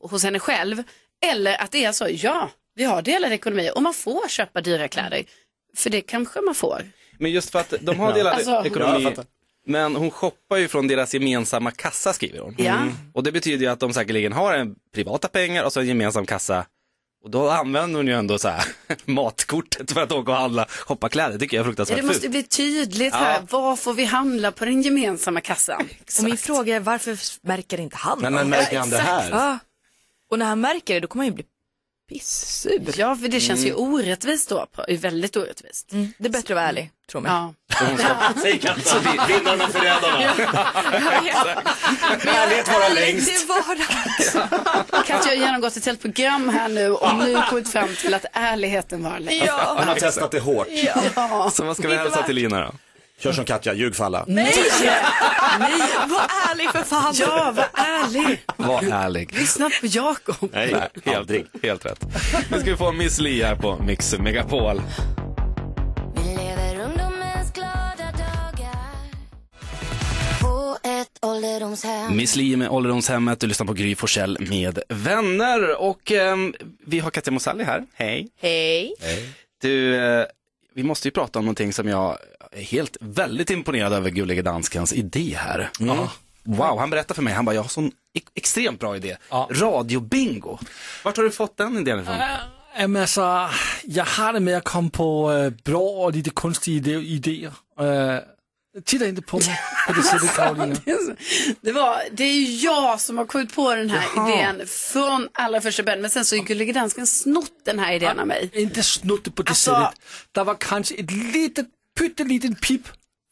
S6: hos henne själv. Eller att det är så, ja, vi har delad ekonomi och man får köpa dyra kläder, för det kanske man får.
S3: Men just för att de har delat
S6: Alltså- Ja, jag
S3: ekonomi.
S6: fattar.
S3: men hon shoppar ju från deras gemensamma kassa skriver hon. Mm.
S6: Ja.
S3: Och det betyder ju att de säkerligen har en privata pengar och så en gemensam kassa. Och då använder hon ju ändå så här matkortet för att åka och handla, shoppa kläder. Det tycker jag är
S6: Ja,
S3: fruktansvärt
S6: Det måste
S3: fult.
S6: bli tydligt
S3: Ja.
S6: här, vad får vi handla på den gemensamma kassan?
S12: Och min fråga är varför märker inte han
S4: Men
S12: av
S4: när märker han det här?
S12: Ja. Och när han märker det då kommer han ju bli pissur.
S6: Ja, för det känns ju orättvist då, på- väldigt orättvist.
S12: Det är bättre att vara ärlig, tro mig.
S6: Ja.
S4: Säg Katja, vinnarna och förrädarna. Ärlighet varar längst.
S12: Det var
S6: Katja har genomgått ett helt program här nu och nu kommit fram till att ärligheten var lätt.
S4: Han har testat det hårt.
S6: Ja.
S3: Så vad ska vi hälsa till Lina då?
S4: Kör som Katja, ljug för alla.
S12: Nej! Nej, var ärlig för fan.
S6: Ja, var ärlig.
S3: Var ärlig.
S6: Lyssna på Jakob.
S3: Nej, helt, helt rätt. Nu ska vi få Miss Li här på Mix Megapol.
S2: Vi lever ungdomens glada dagar på ett ålderdomshem
S3: Miss Li med ålderdomshemmet, du lyssnar på Gry Forssell med vänner. Och ehm, vi har Katja Mosalli här, hej.
S12: Hej.
S3: Du, eh, vi måste ju prata om någonting som jag är helt väldigt imponerad över Gulliga Danskans idé här.
S6: Mm.
S3: Ja. Wow, han berättade för mig, han bara, jag har sån e- extremt bra idé. Radiobingo. Vart har du fått den idén ifrån?
S5: Jamen, altså, jeg har det med at komme på øh, blå og de, de kunstige ide- idéer. Øh, titter inte på mig på det sættet, Karolina.
S6: Det, var, det är jag som har kommit på den här
S5: Jaha.
S6: idén från allra första början. Men sen så har Gullige Dansken snott den här idén av mig.
S5: Inte snott det på det sättet. Der var kanskje et lite, pytteliten pip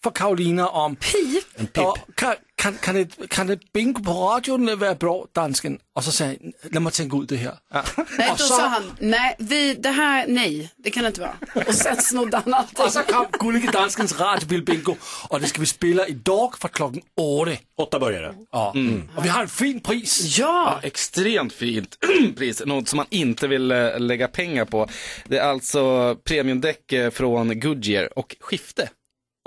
S5: fra Karolina om...
S6: Pip?
S5: En pip. Og kan, kan, kan, det, kan det bingo på radioen øh, være blå, dansken? Og så sagde jeg, lad mig tænke ud det her. Ja.
S6: Nej,
S5: og
S6: då
S5: så,
S6: sa han, nej, vi, det här, nej, det kan det inte vara. Och sen snodde han allting.
S5: og så kom Gullige Danskens radiobil bingo, og det skal vi spille i dag fra klokken 8.
S4: 8 börjar det.
S5: Ja. Och vi har en fin pris.
S3: Ja, extremt fint pris. Något som man inte vill eh, lägga pengar på. Det är alltså premiumdäck eh, från Goodyear och skifte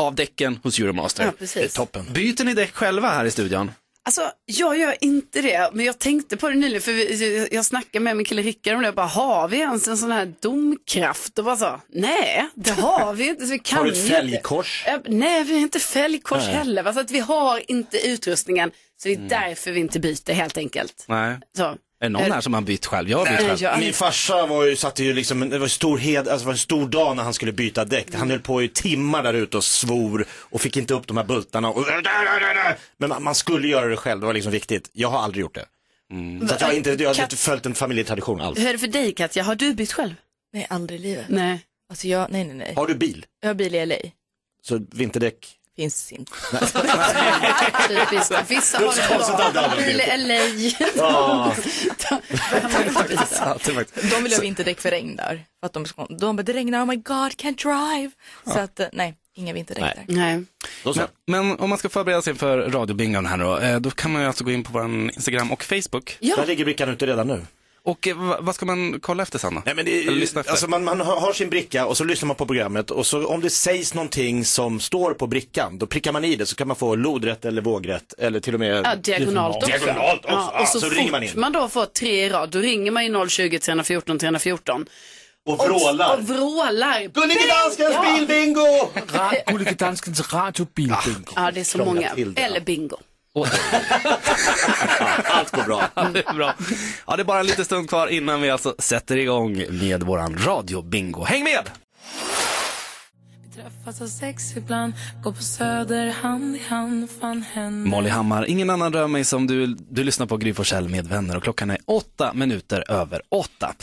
S3: av däcken hos Euromaster.
S6: Ja, precis. Det är toppen.
S3: Byter ni däck själva här i studion?
S6: Alltså, jag gör inte det, men jag tänkte på det nyligen, för vi- jag snackade med min kille Rickard om det, jag bara, har vi ens en sån här domkraft? Och bara så, nej, det har vi inte, så vi kan
S4: Har du
S6: ju
S4: ett
S6: inte."
S4: fälgkors?
S6: Ja, Nej, vi har inte fälgkors
S4: Nej. Mm.
S6: heller, va? så att vi har inte utrustningen, så det är därför vi inte byter helt enkelt.
S3: Nej.
S6: Så. Är
S3: det någon här som har bytt själv? Jag har bytt
S6: Nej,
S3: själv.
S6: jag-
S4: Min farsa var ju, satte ju liksom, det var en stor, hed, alltså det var en stor dag när han skulle byta däck. Han höll på i timmar där ute och svor och fick inte upp de här bultarna. Och, men man, man skulle göra det själv, det var liksom viktigt. Jag har aldrig gjort det. Så att jag, har inte, jag har inte följt en familjetradition alls.
S6: Hur är det för dig Katja, har du bytt själv?
S12: Nej, aldrig i livet.
S6: Nej.
S12: Alltså jag, nej, nej, nej.
S4: Har du bil?
S12: Jag har bil i LA.
S4: Så vinterdäck?
S12: Finns inte.
S6: Typiskt, vissa har
S12: Det är konstigt
S6: det
S12: att
S6: bra.
S12: alla
S6: Bil
S12: byter.
S6: eller
S12: Ja.
S3: De
S12: vill ha vinterdäck för regn där. För att de, ska- de bara, det regnar, oh my god, can't drive. Så att, eh, nej, inga vinterdäck där.
S6: Nej.
S3: Men, men om man ska förbereda sig för radiobingon här då, eh, då kan man ju alltså gå in på vår Instagram och Facebook.
S6: Ja.
S4: Där ligger brickan ute redan nu.
S3: Och eh, va- vad ska man kolla efter Sanna?
S4: Nej, men det,
S3: Eller lyssna efter?
S4: Alltså man, man har har sin bricka och så lyssnar man på programmet och så om det sägs någonting som står på brickan, då prickar man i det så kan man få lodrätt eller vågrätt eller till och med
S6: Ja, diagonalt också.
S4: Diagonalt också.
S6: Ja, och så,
S4: så
S6: fort
S4: ringer man in.
S6: då får tre i rad, då ringer man ju 020 314 314.
S4: Och
S5: vrålar.
S6: Och, och vrålar.
S4: Gullige danskens
S6: Ja.
S4: bilbingo!
S5: Ra- Gullige Danskens radiobil bingo.
S6: Ja, det är så
S5: Krångla
S6: många.
S5: till det.
S6: Eller bingo.
S4: Allt går bra.
S3: Ja, det är bra. Ja, det är bara en liten stund kvar innan vi alltså sätter igång med våran radiobingo. Häng med!
S13: Träffas av sex ibland, går på söder hand i hand, fan händer
S3: Molly Hammar, ingen annan rör mig som du, du lyssnar på Gry Forssell med vänner och klockan är åtta minuter över åtta.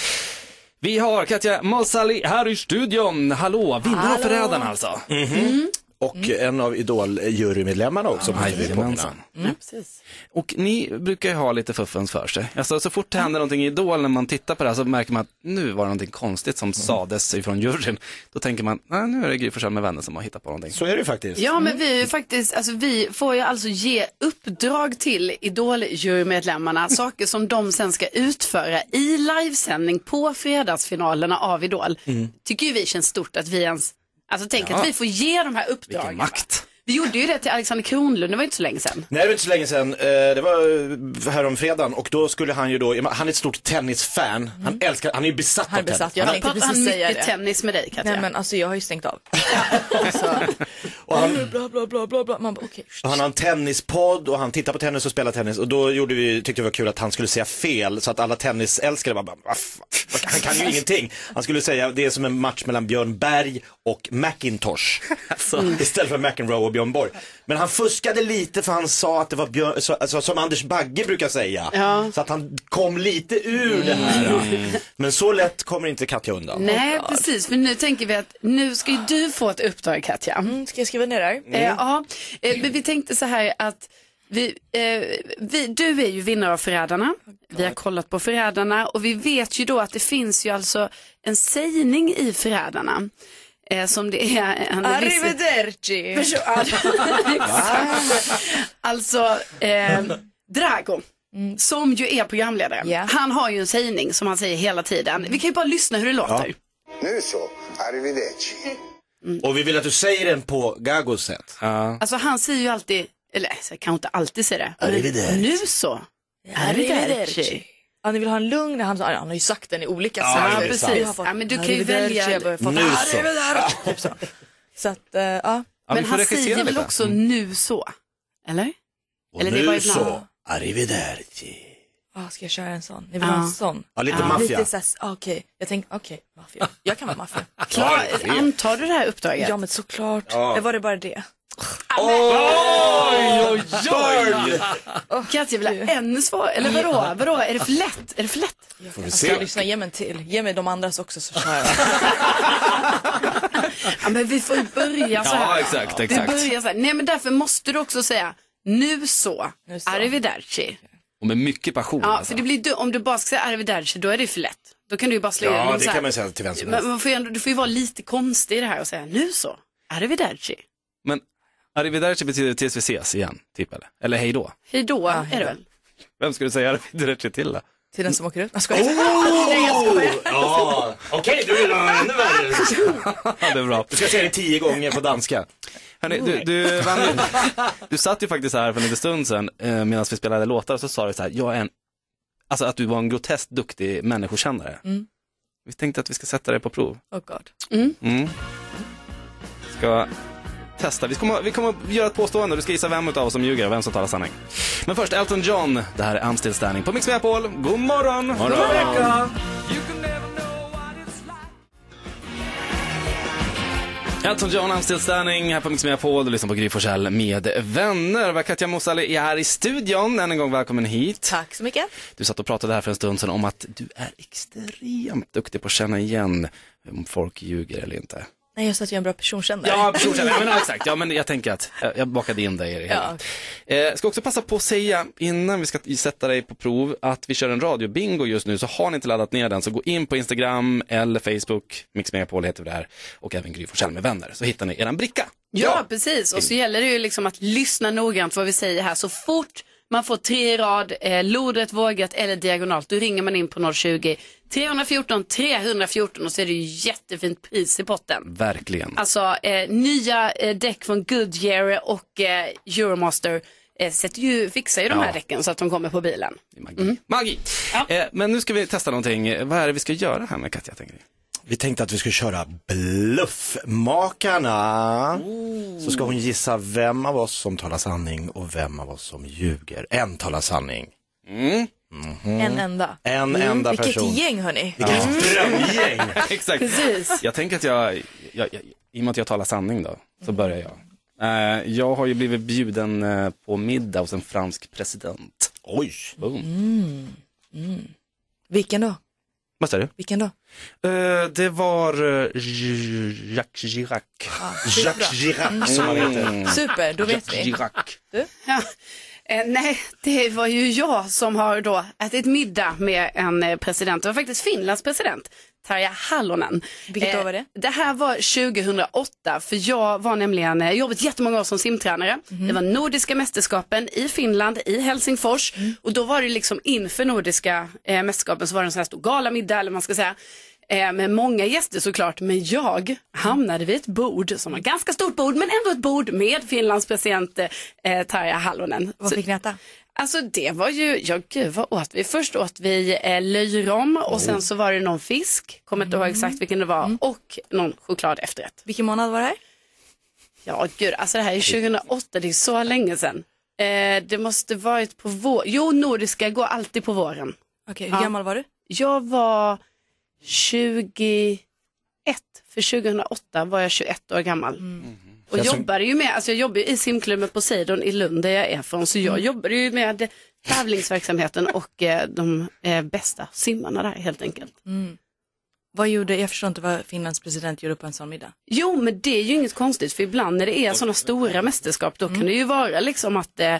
S3: Vi har Katja Masali här i studion. Hallå, vinnare och
S4: Hallå.
S3: förrädarna alltså.
S4: Och en av Idol-jurymedlemmarna också. måste vi påminna.
S3: Jajamensan. Och ni brukar ju ha lite fuffens för sig. Alltså så fort det händer någonting i Idol när man tittar på det här så märker man att nu var det någonting konstigt
S6: Mm.
S3: som sades ifrån juryn. Då tänker man, nej nu är det Gry Forssell med vänner som har hittat på någonting.
S4: Så är det ju faktiskt.
S6: Ja,
S12: Mm.
S6: men vi är ju faktiskt, alltså vi får ju alltså ge uppdrag till Idol-jurymedlemmarna, saker som de sen ska utföra i livesändning på fredagsfinalerna av Idol.
S12: Mm.
S6: Tycker ju vi känns stort att vi ens, alltså tänk
S4: Ja.
S6: att vi får ge de här uppdragen.
S4: Vilken
S3: makt.
S6: Vi gjorde ju det till Alexander Kronlund, det var ju inte så länge sedan.
S4: Nej, det var inte så länge sedan. Eh, Det var eh, häromfredagen och då skulle han ju då, han är ett stort tennisfan. Han älskar, han är ju besatt
S12: Han är
S4: av tennis.
S12: besatt, jag tänkte
S6: pratar
S12: precis
S6: han
S12: säga
S6: mycket
S12: det.
S6: tennis med dig Katja?
S12: Nej men alltså jag har ju stängt av.
S4: Och han-
S12: Bla bla bla bla bla. Man bara okej.
S4: Och han har en tennispodd och han tittar på tennis och spelar tennis och då gjorde vi, tyckte vi var kul att han skulle säga fel så att alla tennisälskare bara, bara "Va fan, han kan ju ingenting. Han skulle säga det är som en match mellan Björn Berg och Macintosh.
S3: Mm.
S4: Istället för McEnroe och Björn Borg. Men han fuskade lite för han sa att det var Björn, så, alltså, som Anders Bagge brukar säga. Så att han kom lite ur det här. Men så lätt kommer inte Katja undan.
S12: oh
S6: Nej, precis. För nu tänker vi att nu ska ju du få ett uppdrag, Katja.
S12: Mm, ska jag skriva ner det här?
S6: Eh, ja, eh, men vi tänkte så här att vi, eh, vi, du är ju vinnare av Förrädarna. Vi har kollat på Förrädarna och vi vet ju då att det finns ju alltså en sägning i Förrädarna. Eh, som det är... han är viss-
S12: Arrivederci!
S6: Förstå- ja, exakt. alltså, eh, Drago, som ju är programledare, han har ju en sägning som han säger hela tiden. Vi kan ju bara lyssna hur det låter.
S7: Nu så, arrivederci.
S4: Och vi vill att du säger den på Gagos sätt.
S6: Alltså han säger ju alltid, eller så jag kan inte alltid säga det.
S4: Arrivederci.
S6: Men nu så. Arrivederci.
S12: Ja, ni vill ha en lugn, han, han har ju sagt den i olika
S6: Ja,
S12: sätt.
S6: det är sant.
S12: Jag har fått
S6: Ja, men du kan ju
S12: arrivederci,
S6: välja-
S12: jag börjar få-
S6: Nu så.
S12: Arrivederci, typ så. Så att, eh, ja.
S6: Men han säger väl också
S3: Mm.
S6: nu så? Eller?
S4: Och
S6: Eller det
S4: nu
S6: var ibland.
S4: så, arrivederci.
S12: ah, ska jag köra en sån? Ni vill
S4: Ja.
S12: ha en sån?
S4: Ja, lite maffia.
S12: Lite såhär, ah, okej. Jag tänkte, okej, maffia. Jag kan vara maffia.
S6: Klar, antar du det här uppdraget?
S12: Ja, men såklart.
S6: Ja.
S12: Det var det bara det.
S6: Oj,
S12: oj, oj.
S6: Grattis, jag vill ha ännu svårare. Eller vadå? vadå? Är det för lätt? Är det för lätt?
S4: Får vi
S12: Alltså,
S4: se.
S12: lyssna, ge mig en till. Ge mig de andras också så kör jag.
S6: Ja, men vi får ju börja så här.
S3: Ja, exakt,
S6: Vi
S3: exakt.
S6: börjar så här. Nej, men därför måste du också säga nu så, arrivederci.
S3: Och med mycket passion.
S6: Ja,
S3: alltså.
S6: för det blir du, om du bara ska säga arrivederci, då är det ju för lätt. Då kan du ju bara slå
S3: Ja,
S6: igenom
S3: det
S6: så här.
S3: kan man ju säga till vem som
S6: Men
S3: helst.
S6: man får ju ändå, du får ju vara lite konstig i det här och säga nu så, arrivederci.
S3: Men arrivederci betyder tills vi ses igen, typ eller? Eller hej då.
S6: Hej då, är det väl?
S3: Vem skulle säga arrivederci till då?
S12: Till den som åker ut. Jag skojar.
S6: Oh! Nej, jag skojar.
S4: Ja, okej, du vill ha ännu värre.
S3: Ja, det är bra.
S4: Du ska säga det tio gånger på danska.
S3: Hörrni, du, du, vann ju, du satt ju faktiskt här för en liten stund sedan eh, medan vi spelade låtar så sa du så här, jag är en, alltså att du var en groteskt duktig människokännare.
S12: Mm.
S3: Vi tänkte att vi ska sätta dig på prov.
S12: Oh god.
S3: Mm. Ska testa. Vi kommer, vi kommer göra ett påstående du ska gissa vem utav oss som ljuger och vem som talar sanning. Men först Elton John. Det här är I'm still standing på Mix Megapol. God morgon!
S4: morgon.
S3: vecka! Elton John, I'm still standing här på Mix Megapol. Du lyssnar på Gry Forssell med vänner. Katja Mosali är här i studion. Än en gång välkommen hit.
S12: Tack så mycket.
S3: Du satt och pratade här för en stund sedan om att du är extremt duktig på att känna igen om folk ljuger eller inte.
S12: Nej, jag sa att jag är en bra personkännare.
S3: Ja, personkännare. Ja, men ja, exakt. Ja, men jag tänker att jag, jag bakade in dig i det hela. Eh, ska också passa på att säga innan vi ska sätta dig på prov att vi kör en radiobingo just nu. Så har ni inte laddat ner den så gå in på Instagram eller Facebook, Mix Megapol heter vi där, och även Gry Forssell med vänner så hittar ni eran bricka.
S6: Ja, precis. Och så gäller det ju liksom att lyssna noggrant vad vi säger här. Så fort man får tre i rad, eh, lodrätt, vågat eller diagonalt, då ringer man in på 020 314 314 och så är det ju jättefint pris i potten.
S3: Verkligen.
S6: Alltså eh, nya eh, däck från Goodyear och eh, Euromaster eh, sätter ju, fixar ju de
S3: Ja.
S6: här däcken så att de kommer på bilen.
S3: Magi! Eh, men nu ska vi testa någonting. Eh, Vad är det vi ska göra här med Katja, tänker ni?
S4: Vi tänkte att vi skulle köra Bluffmakarna. Så ska hon gissa vem av oss som talar sanning och vem av oss som ljuger. En talar sanning. Mhm.
S12: En enda. Mm.
S4: En enda
S12: Vilket
S4: person.
S12: gäng hörni.
S4: Mm.
S3: Drömgäng! Exakt.
S12: Precis.
S3: Jag tänker att jag, jag, jag, i och med att jag talar sanning då, så börjar jag. Eh, jag har ju blivit bjuden eh, på middag hos en fransk president.
S4: Oj!
S3: Boom.
S12: Mm. Mm. Vilken då?
S3: Vad sa du?
S12: Vilken då?
S3: Eh, det var eh, J- Jacques Chirac.
S12: Jacques Chirac, Mm.
S4: som han heter.
S12: Super, då vet vi.
S3: Chirac.
S6: Ja. Eh, nej, det var ju jag som har då ätit middag med en eh, president. Det var faktiskt Finlands president, Tarja Halonen. Eh,
S12: Vilket år var det?
S6: Det här var 2008, för jag var nämligen, eh, jobbat jättemånga år som simtränare.
S12: Mhm.
S6: Det var Nordiska mästerskapen i Finland, i Helsingfors.
S12: Mm.
S6: Och då var det liksom inför Nordiska eh, mästerskapen så var det en sån här stor galamiddag, eller vad man ska säga. Eh, med många gäster såklart, men jag hamnade vid ett bord som var ganska stort bord, men ändå ett bord med Finlands president eh, Tarja Halonen.
S12: Vad
S6: Så-
S12: fick ni äta?
S6: Alltså det var ju, ja gud vad åt vi? Först åt vi eh, löjrom och sen så var det någon fisk, kommer inte ihåg exakt vilken det var, och någon choklad efterrätt.
S12: Vilken månad var det här?
S6: Ja gud, alltså det här är 2008, det är så länge sedan. Eh, det måste varit på vår, jo nordiska går alltid på våren.
S12: Okej, hur gammal var du?
S6: Jag var 21, för 2008 var jag 21 år gammal. Och
S12: Känns som-
S6: jobbade ju med, alltså jag jobbar ju i simklubben Poseidon i Lund där jag är från, så jag jobbade ju med tävlingsverksamheten och eh, de eh, bästa simmarna där helt enkelt.
S12: Mm. Vad gjorde, jag förstår inte vad Finlands president gjorde på en sån middag.
S6: Jo, men det är ju inget konstigt för ibland när det är sådana stora mästerskap då kan det ju vara liksom att, eh,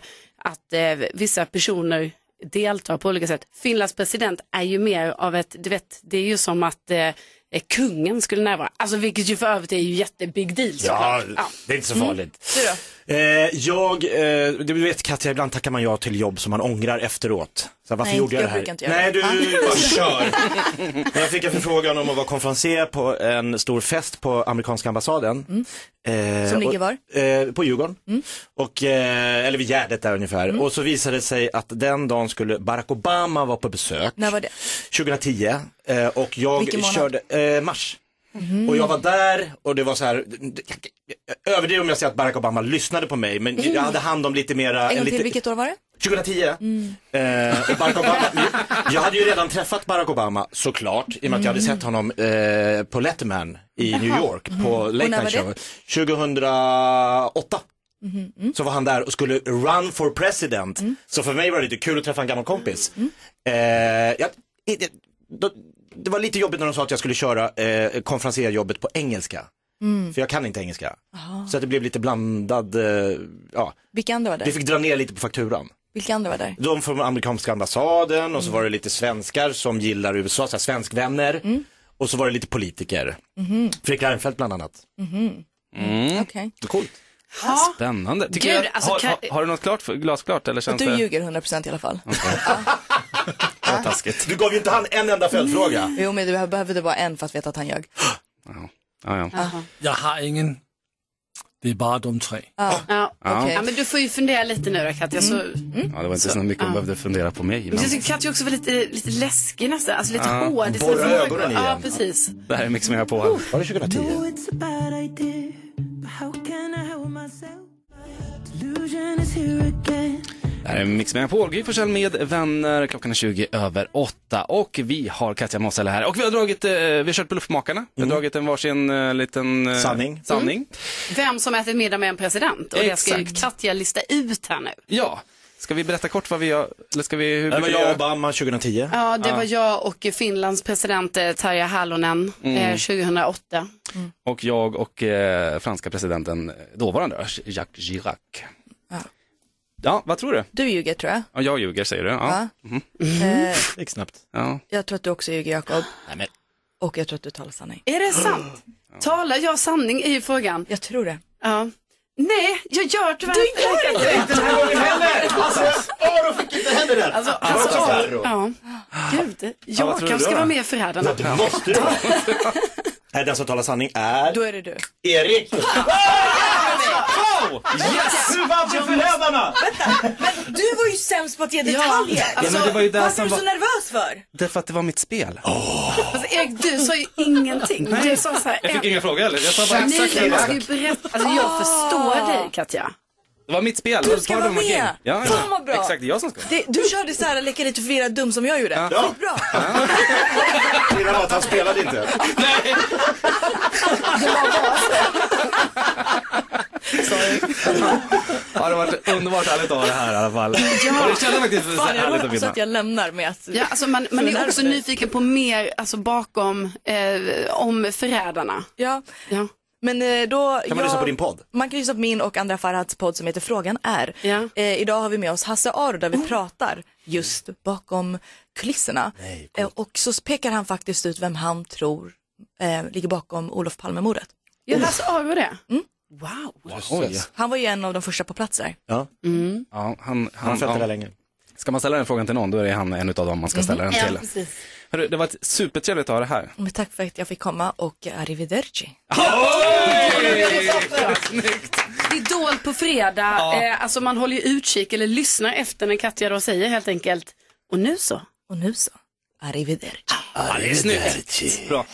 S6: att eh, vissa personer deltar på olika sätt. Finlands president är ju mer av ett, du vet, det är ju som att eh, eh, kungen skulle närvara. Alltså vilket ju för övrigt är ju jättebig deal
S4: Ja,
S6: såklart.
S4: det är inte så
S12: Mm.
S4: farligt. Eh, jag, eh, du vet Katja, ibland tackar man ja till jobb som man ångrar efteråt. Så varför
S12: Nej,
S4: gjorde jag,
S12: jag
S4: det här?
S12: brukar inte göra
S4: Nej,
S12: det.
S4: du
S12: Ah.
S4: bara kör. Men jag fick en förfrågan om att vara konferencier på en stor fest på amerikanska ambassaden. Eh,
S12: Mm. Som ligger var? Mm.
S4: Och, eh, på Djurgården. Och, eh, eller vid Gärdet där ungefär. Och så visade det sig att den dagen skulle Barack Obama vara på besök.
S12: När var det?
S4: 2010. Eh, och
S12: Vilken
S4: jag
S12: månad?
S4: körde eh, mars. Och jag var där och det var så här, överdriv om jag säger att Barack Obama lyssnade på mig, men jag hade hand om lite mera,
S12: Mm. en gång till,
S4: lite,
S12: vilket år var det?
S4: 2010. Eh, och Barack Obama, jag hade ju redan träffat Barack Obama såklart, i och med att jag hade
S14: Mm.
S4: sett honom eh, på Letterman i New
S14: Jaha.
S4: York
S14: Mhm.
S4: på
S14: Och
S4: Late
S14: när
S4: Night
S14: var
S4: Show. 2008
S14: Mhm.
S4: så var han där och skulle run for president.
S14: Mm.
S4: Så för mig var det lite kul att träffa en gammal kompis. Eh, jag, i- det, då, det var lite jobbigt när de sa att jag skulle köra eh, konferencierjobbet på engelska.
S12: Mm.
S4: För jag kan inte engelska.
S12: Aha.
S4: Så att det blev lite blandad, eh, ja.
S12: Vilka andra var där?
S4: Vi fick dra ner lite på fakturan.
S12: Vilka andra var där?
S4: De från amerikanska ambassaden och så var det lite svenskar som gillar USA, så här svenskvänner. Och så var det lite politiker.
S12: Mhm.
S4: Fredrik Reinfeldt bland annat.
S12: Mhm.
S3: Mm.
S12: Okej.
S4: Coolt.
S12: Ja.
S3: Spännande. Tycker
S12: Gud,
S3: jag,
S12: alltså,
S3: har,
S12: kan-
S3: har, har du något klart, för- glasklart eller känns
S12: Du
S3: det
S12: ljuger 100% i alla fall.
S3: det var taskigt?
S4: Du gav ju inte han en enda följdfråga.
S12: Jo, men du behövde bara en för att veta att han ljög.
S3: Ja, ja.
S5: Jag har ingen. Det är bara de tre.
S12: Ja.
S6: Ja.
S3: Ja. Mm.
S6: ja, men du får ju fundera lite nu då Katja. Så...
S3: Ja, det var inte så, mycket man behövde fundera på mig.
S6: Men
S3: Men...
S6: jag tycker Katja också var lite, lite läskig nästan, alltså lite
S3: Ja.
S6: hård. i sina
S3: Borra
S6: frågor.
S3: ögonen i
S6: Ja,
S3: en.
S6: precis.
S3: Det här är Mix med på.
S4: Var det 2010?
S15: It's a bad idea, but how can I help myself? Delusion is here again.
S3: Det här är Mix med på. Gry Forssell med vänner. Klockan är 20 över 8 och vi har Katja Mossele här. Och vi har dragit, eh, vi har kört på Luftmakarna. Vi har dragit en varsin eh, liten eh,
S4: Mm. sanning. Mm.
S3: sanning.
S6: Vem som äter middag med en president. Och det ska ju
S3: Exakt.
S6: Katja lista ut här nu.
S3: Ja, ska vi berätta kort vad vi gör? Eller ska vi, hur
S4: Det var
S3: brukar vi
S4: jag
S3: göra?
S4: och Obama 2010.
S6: Ja, det var jag och Finlands president eh, Tarja Halonen
S3: Mm.
S6: eh, 2008.
S3: Och jag och eh, franska presidenten, eh, dåvarande Jacques Chirac.
S12: Ja.
S3: Ja, vad tror du?
S12: Du ljuger tror jag.
S3: Ja, jag ljuger säger du. Ja.
S12: Va?
S3: Mhm.
S12: Eh,
S4: Gick snabbt.
S3: Ja.
S12: jag tror att du också ljuger Jakob.
S4: Nej, men...
S12: Och jag tror att du talar sanning.
S6: Är det sant? Talar jag sanning i frågan?
S12: Jag tror det.
S6: Ja. Nej, jag gör tyvärr
S15: Du gör inte det den här gången heller! Alltså,
S4: Aron fick inte heller den!
S6: Alltså,
S15: Han var också
S6: alltså,
S15: terror.
S6: ja. Gud,
S4: Ja, vad
S6: jag
S4: tror du
S6: kanske ska
S4: då?
S6: vara med i Förrädarna.
S4: Det måste du Nej, den som talar sanning är... Då
S12: är det du.
S4: Erik!
S15: Wow!
S4: Yes!
S15: Du vann för Förrädarna! Vänta, men du var ju sämst på att ge detaljer.
S3: Ja, men
S12: Alltså,
S3: det var ju där
S15: varför
S3: som
S15: är du så
S3: var-
S15: nervös för?
S3: Det är för att det var mitt spel.
S6: Alltså, Erik, du sa ju ingenting. Du sa så här,
S3: Jag fick inga frågor eller? Jag sa bara
S6: Nej,
S3: exakt
S6: jag ska ju
S3: det.
S6: berätta. Alltså, jag förstår dig, Katja.
S3: Det var mitt spel.
S12: Du ska
S3: Ta
S12: vara
S3: dem och
S12: med!
S3: Kim. Ja, ja.
S12: Fan vad bra!
S3: Exakt, det är jag som ska.
S12: Det, du körde så här, leka lite förvirrad dum som jag gjorde.
S4: Ja.
S12: Bra.
S4: Skillnaden var att han spelade inte.
S3: Ja, det har varit underbart härligt att ha det här i alla fall. Och det kändes faktiskt så
S12: Fan, jag
S3: härligt att
S12: hoppas
S3: vinna.
S12: att jag lämnar med att...
S6: Ja, alltså man, man är också nyfiken på mer alltså, bakom, eh, om Förrädarna.
S12: Ja. Men eh, då...
S6: Kan man lyssna på din podd?
S12: Man kan lyssna på min och andra Farhads podd som heter Frågan är. Eh, idag har vi med oss Hasse Aro
S15: Oh.
S12: där vi pratar just bakom kulisserna. eh, och så pekar han faktiskt ut vem han tror eh, ligger bakom Olof Palmemordet.
S6: Jag läste av det. Wow.
S3: Oj.
S12: Han var ju en av de första på plats där.
S4: Ja.
S6: Mm.
S3: Ja, han,
S4: har följt det där länge.
S3: Ska man ställa den frågan till någon, då är han en av dem man ska ställa den till.
S12: Mm-hmm. precis.
S3: Hörru, det var supertrevligt att ha det här.
S12: Men tack för att jag fick komma och arrivederci.
S6: Idol på fredag.
S12: Ja.
S6: Eh, alltså man håller ju utkik eller lyssnar efter när Katja då säger helt enkelt. Och nu så.
S12: Och nu så. Arrivederci.
S16: Ah,
S3: Ja, det är snyggt. Bra.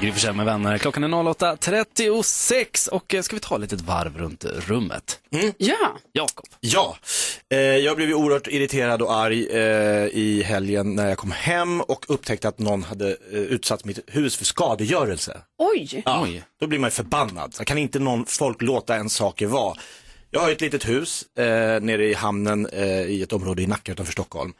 S3: Gry Forssell med vänner. Klockan är 08.36 och eh, ska vi ta ett litet varv runt rummet?
S6: Ja.
S3: Jakob.
S4: Ja, eh, jag blev ju oerhört irriterad och arg eh, i helgen när jag kom hem och upptäckte att någon hade eh, utsatt mitt hus för skadegörelse.
S6: Oj.
S4: Ja, då blir man ju förbannad. Så kan inte någon folk låta en saker vara. Jag har ju ett litet hus eh, nere i hamnen eh, i ett område i Nacka utanför Stockholm.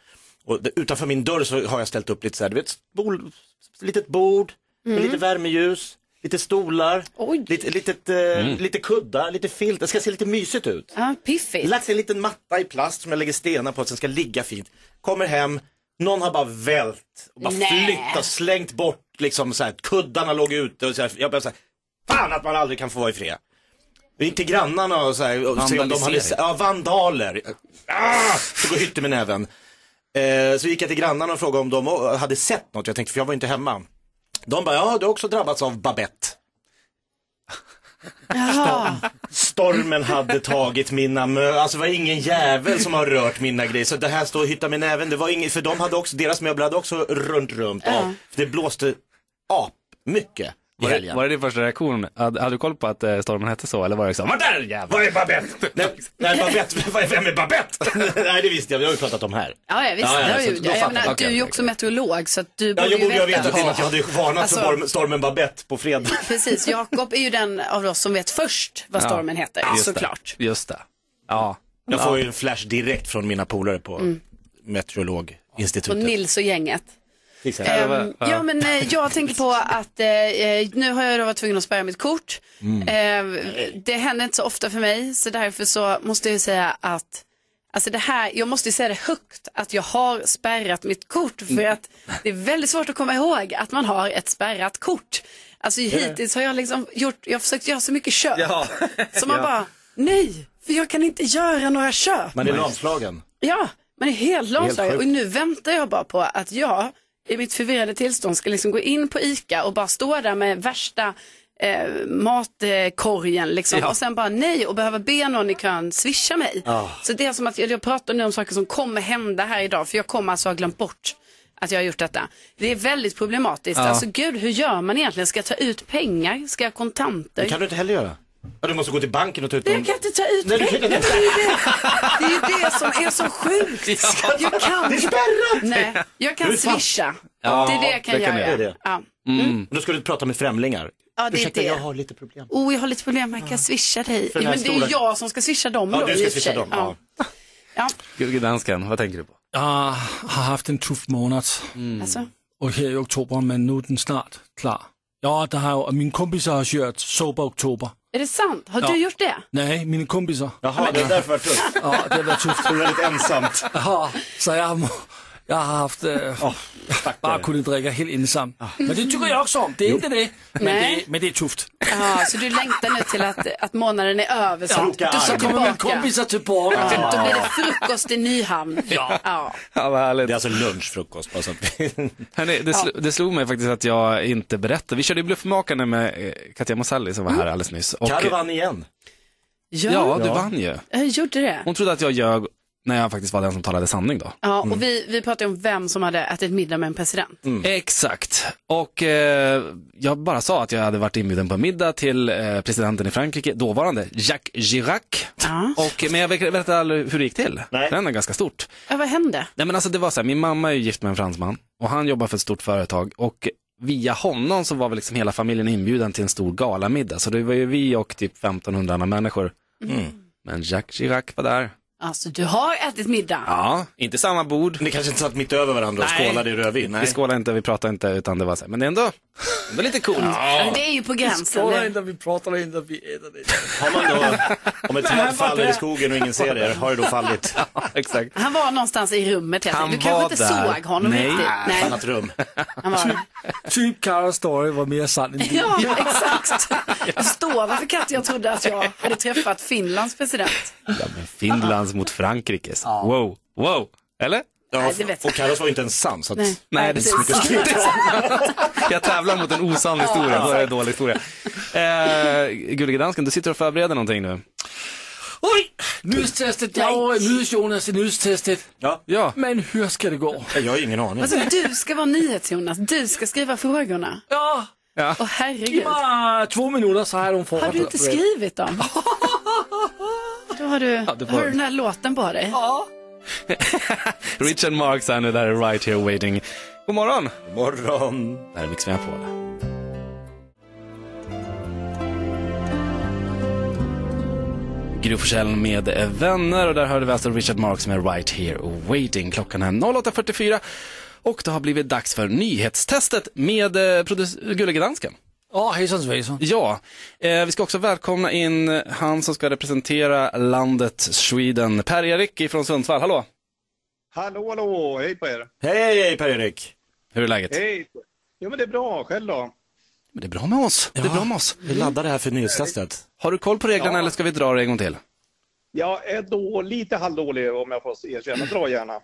S4: Och det, utanför min dörr så har jag ställt upp lite så här, du vet, bol, litet bord med lite värmeljus, lite stolar, lite, litet, eh, lite kudda, lite filt. Det ska se lite mysigt ut.
S6: Ja, piffigt.
S4: Lagt en liten matta i plast som jag lägger stenar på så den ska ligga fint. Kommer hem, någon har bara vält och bara
S15: Nej.
S4: flyttat, slängt bort liksom så här, kuddarna låg ute och så här, jag bara så här, fan att man aldrig kan få vara i fred. Vi gick till grannarna och så här, och se om de hade,
S15: Vandalisering.
S4: ja vandaler. Ah! Så går hytte med näven. Eh, så gick jag till grannarna och frågade om de hade sett något, jag tänkte för jag var inte hemma. De bara, ja du har också drabbats av Babette. Stormen hade tagit mina möbler, alltså det var ingen jävel som har rört mina grejer. Så det här står och hyttar med näven, det var inget, för de hade också, deras möbler hade också runt runt av. För det blåste ap mycket.
S3: Var det,
S4: helgen.
S3: var det din första reaktion? Hade, hade du koll på att eh, stormen hette så? Eller var det liksom, vart är den jäveln?
S4: Var är Babette? Nej, nej Babette, vad är- vem är Babette? nej, det visste jag, vi har ju pratat om här.
S6: Ja, ja visst.
S4: Ja, ja,
S6: det har
S4: så
S6: jag
S4: då
S6: gjort. Jag
S4: fattar
S6: menar,
S4: jag.
S6: du är ju också meteorolog så att du
S4: Ja,
S6: borde
S4: jag borde ju
S6: ju
S4: ha
S6: veta.
S4: vetat innan att jag hade varnat
S6: Alltså,
S4: för storm- stormen Babette på fredag.
S6: Precis, Jakob är ju den av oss som vet först vad
S4: Ja,
S6: stormen heter,
S4: just det.
S6: såklart.
S3: Just det. Ja.
S4: Jag får ju en flash direkt från mina polare på
S6: Mm.
S4: Meteorologinstitutet.
S6: Och Nils och gänget.
S4: Till exempel.
S6: Ehm, ja, men eh, jag tänker på att eh, eh, nu har jag då varit tvungen att spärra mitt kort.
S4: Mm.
S6: Ehm, det händer inte så ofta för mig, så därför så måste jag ju säga att Alltså det här, jag måste ju säga det högt att jag har spärrat mitt kort för att det är väldigt svårt att komma ihåg att man har ett spärrat kort. Alltså
S2: Ja.
S6: hittills har jag liksom gjort, jag har försökt göra så mycket köp.
S2: Ja.
S6: Så man
S2: Ja.
S6: bara, nej, för jag kan inte göra några köp.
S4: Man är lamslagen.
S6: Ja, man är helt
S4: Helt
S6: lamslagen.
S4: sjukt.
S6: Och nu väntar jag bara på att jag i mitt förvirrade tillstånd ska liksom gå in på ICA och bara stå där med värsta eh, matkorgen liksom.
S2: Ja.
S6: och sen bara nej och behöva be någon i kön swisha mig.
S2: Ah.
S6: Så det är som att jag, jag pratar nu om saker som kommer hända här idag för jag kommer alltså ha glömt bort att jag har gjort detta. Det är väldigt problematiskt.
S4: Ja.
S6: Alltså gud, hur gör man egentligen? Ska jag ta ut pengar? Ska jag ha kontanter?
S4: Det kan du inte heller göra. Ja, du måste gå till banken och ta ut
S6: Nej,
S4: dem.
S6: Jag kan inte ta ut
S4: Nej, du kan
S6: pengar.
S4: inte ta
S6: Det är ju det. Det är ju det som är så sjukt.
S4: Ja.
S6: Jag kan...
S4: Det är spärrat.
S6: Nej, jag
S4: Du
S6: kan
S4: är fast.
S6: swisha.
S4: Ja,
S6: det är det jag kan
S4: det kan
S6: göra.
S4: du göra.
S6: Ja.
S4: Mm. Då ska du prata med främlingar.
S6: Ja, det är
S4: Ursäkta,
S6: det.
S4: jag har lite problem.
S6: Oh, jag har lite problem. Jag kan swisha dig.
S4: För
S6: Ja,
S4: den här
S6: men det är ju
S4: stora-
S6: jag som ska swisha dem
S4: Ja,
S6: då,
S4: du
S6: i
S4: ska
S6: och för
S4: swisha
S6: sig.
S4: dem, ja.
S3: Dansken, vad tänker du på?
S5: Jag har haft en tuff månad.
S6: Alltså?
S5: Och här i oktober, men nu är den snart klar. Ja, det har, min kompisar har kört Sober Oktober.
S6: Är det sant? Har
S5: Ja.
S6: du gjort det?
S5: Nej, mina kompisar.
S4: Jaha, det är därför det var tufft.
S5: Ja, det var tufft.
S4: Det är väldigt ensamt.
S5: Ja, så jag, har- jag har haft, eh,
S4: Ah,
S5: bara kunnat dricka helt ensam. Men det tycker jag också om, det är inte det. Men,
S6: Nej.
S5: det, men det är tufft.
S6: Ja, så du längtar nu till att, att månaden är över. Så
S5: Ja.
S6: att du
S5: Så
S6: ska
S5: kommer min
S6: tillbaka.
S5: kompisar tillbaka.
S6: Ja. Då blir det frukost i Nyhamn.
S5: Ja.
S6: ja.
S3: Ja, vad härligt. Det är
S4: alltså lunchfrukost. Bara så att vi-
S3: Hörrni, det, sl- det slog mig faktiskt att jag inte berättade. Vi körde ju Bluffmakarna med eh, Katja Mosalli som var här alldeles nyss. Och,
S4: Karo vann igen.
S3: Ja, ja, du vann ju.
S6: Jag gjorde det.
S4: Mm.
S3: Hon trodde att jag ljög när jag faktiskt var den som talade sanning då.
S6: Ja, och vi, vi pratade om vem som hade ätit middag med en president.
S4: Mm.
S3: Exakt. Och eh, jag bara sa att jag hade varit inbjuden på middag till eh, presidenten i Frankrike, dåvarande Jacques Chirac. Och, men jag berättade aldrig hur det gick till. Det är ändå ganska stort.
S6: Ja, vad hände?
S3: Nej men alltså det var så här, min mamma är ju gift med en fransman och han jobbar för ett stort företag och via honom så var väl liksom hela familjen inbjuden till en stor galamiddag. Så det var ju vi och typ 1500 andra människor.
S6: Mm.
S3: Men Jacques Chirac var där.
S6: Alltså, du har ätit middag.
S3: Ja, inte samma bord.
S4: Ni kanske inte satt mitt över varandra och skålade i rödvin? Nej.
S3: Vi skålade inte, vi pratade inte, utan det var så här, men det är ändå, ändå lite coolt.
S6: Ja, Det är ju på gränsen.
S5: Skålar
S6: Det.
S5: inte, vi pratar inte, vi äter det.
S4: Har man då, om ett
S5: Det här
S4: träd
S5: var
S4: faller
S5: det.
S4: i skogen och ingen ser er, har det då fallit?
S3: ja, exakt.
S6: Han var någonstans i rummet helt enkelt. Du kanske inte såg honom riktigt.
S4: Nej, annat rum.
S6: Han var...
S5: Typ Karas story var mer sann än din.
S6: Ja, exakt. Jag förstår varför Katte jag trodde att jag hade träffat Finlands president.
S3: Finlands mot Frankrikes. Wow, wow. Eller?
S4: Ja,
S6: det vet
S4: och Carros var ju inte ens sann så att...
S6: Nej.
S3: Nej, det är så mycket skryt. Jag tävlar mot en osann historia, då är det en dålig historia. Eh, Gullige dansken, du sitter och förbereder någonting nu.
S5: Oj! Nystestet, jag är nys Jonas i nystestet.
S4: Ja.
S3: ja.
S5: Men hur ska det gå?
S4: Jag har ingen aning.
S6: Alltså, du ska vara NyhetsJonas. Du ska skriva frågorna.
S5: Ja.
S3: Ja.
S6: Åh
S5: Giv
S6: herregud.
S5: mig två minuter så har de fått.
S6: Har du inte skrivit dem? Då har du,
S3: Ja, det var-
S6: har du den här låten på dig.
S5: Ja.
S3: Richard Marx är nu där, är right here waiting. God morgon! God
S4: morgon!
S3: Det här är Mix Megapol. Gry Forssell med vänner och där hörde vi alltså Richard Marx med Right Here Waiting. Klockan är 08.44 och det har blivit dags för nyhetstestet med eh, produ- Gullige Dansken.
S5: Ja, hejsan svejsan.
S3: Ja, eh, vi ska också välkomna in han som ska representera landet Sweden, Per-Erik från Sundsvall. Hallå!
S14: Hallå, hallå! Hej på er!
S4: Hej Per-Erik!
S3: Hur är läget?
S14: Hej! Jo, men det är bra. Själv då?
S3: Men det är bra med oss. Det är bra med oss.
S4: Vi laddar det här för nyhetstestet.
S3: Har du koll på reglerna
S14: Ja.
S3: eller ska vi dra det en gång till?
S14: Jag är då lite halvdålig om jag får erkänna. Dra gärna.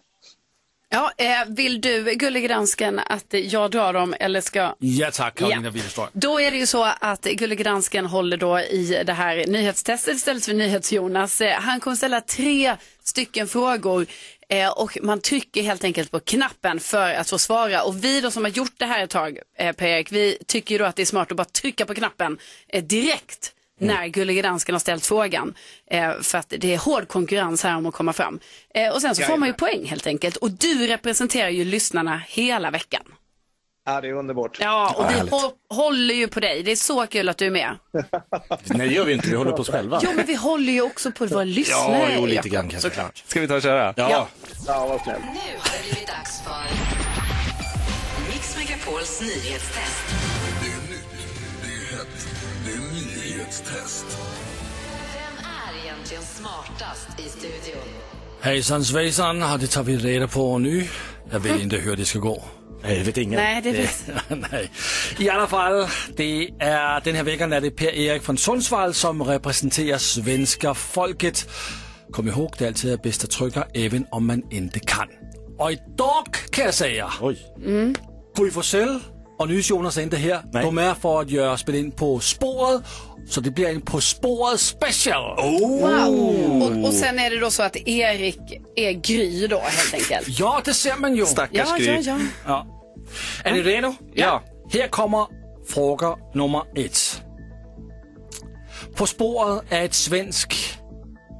S6: Ja, eh, vill du, gullig dansken, att jag drar dem eller ska...
S5: Ja tack, Karolina
S6: Ja.
S5: Widerström.
S6: Då är det ju så att Gullig Dansken håller då i det här nyhetstestet istället för NyhetsJonas. Eh, Han kommer ställa tre stycken frågor eh, och man trycker helt enkelt på knappen för att få svara. Och vi då som har gjort det här ett tag, eh, Per-Erik, vi tycker ju då att det är smart att bara trycka på knappen eh, direkt när Gullige Dansken har ställt frågan. Eh, för att det är hård konkurrens här om att komma fram. Eh, och sen så får man ju poäng helt enkelt. Och du representerar ju lyssnarna hela veckan.
S14: Ja, det är underbart.
S6: Ja, och vi
S14: härligt.
S6: hå- håller ju på dig. Det är så kul att du är med.
S4: Nej det gör vi inte, vi håller på oss själva.
S6: Jo, men vi håller ju också på våra lyssnare.
S4: jo, lite
S6: Jakob.
S4: grann kanske. Såklart.
S3: Ska vi ta och köra?
S4: Ja.
S14: Ja, vad snällt.
S2: Nu har det blivit dags för Mix Megapols nyhetstest. Vem är egentligen smartast i studion?
S5: Hejsan svejsan, ja, det tar vi reda på nu. Jag vet inte hur det ska gå. Nej, det vet ingen.
S6: Nej, det vet-
S5: Nej. I alla fall, det är, den här veckan är det Per-Erik från Sundsvall som representerar svenska folket. Kom ihåg, det alltid är bästa trycker även om man inte kan. Och idag kan jag säga,
S6: Mm.
S5: Gry Forssell och NyhetsJonas är inte här. De är för att göra spela in På spåret, så det blir en På spåret special.
S6: Wow! Och, och sen är det då så att Erik är Gry då helt enkelt.
S5: Ja, det ser man ju.
S6: Stackars Ja, Gry. ja, ja.
S5: ja. Är ni redo? Ja. Här kommer fråga nummer ett. På spåret är ett svensk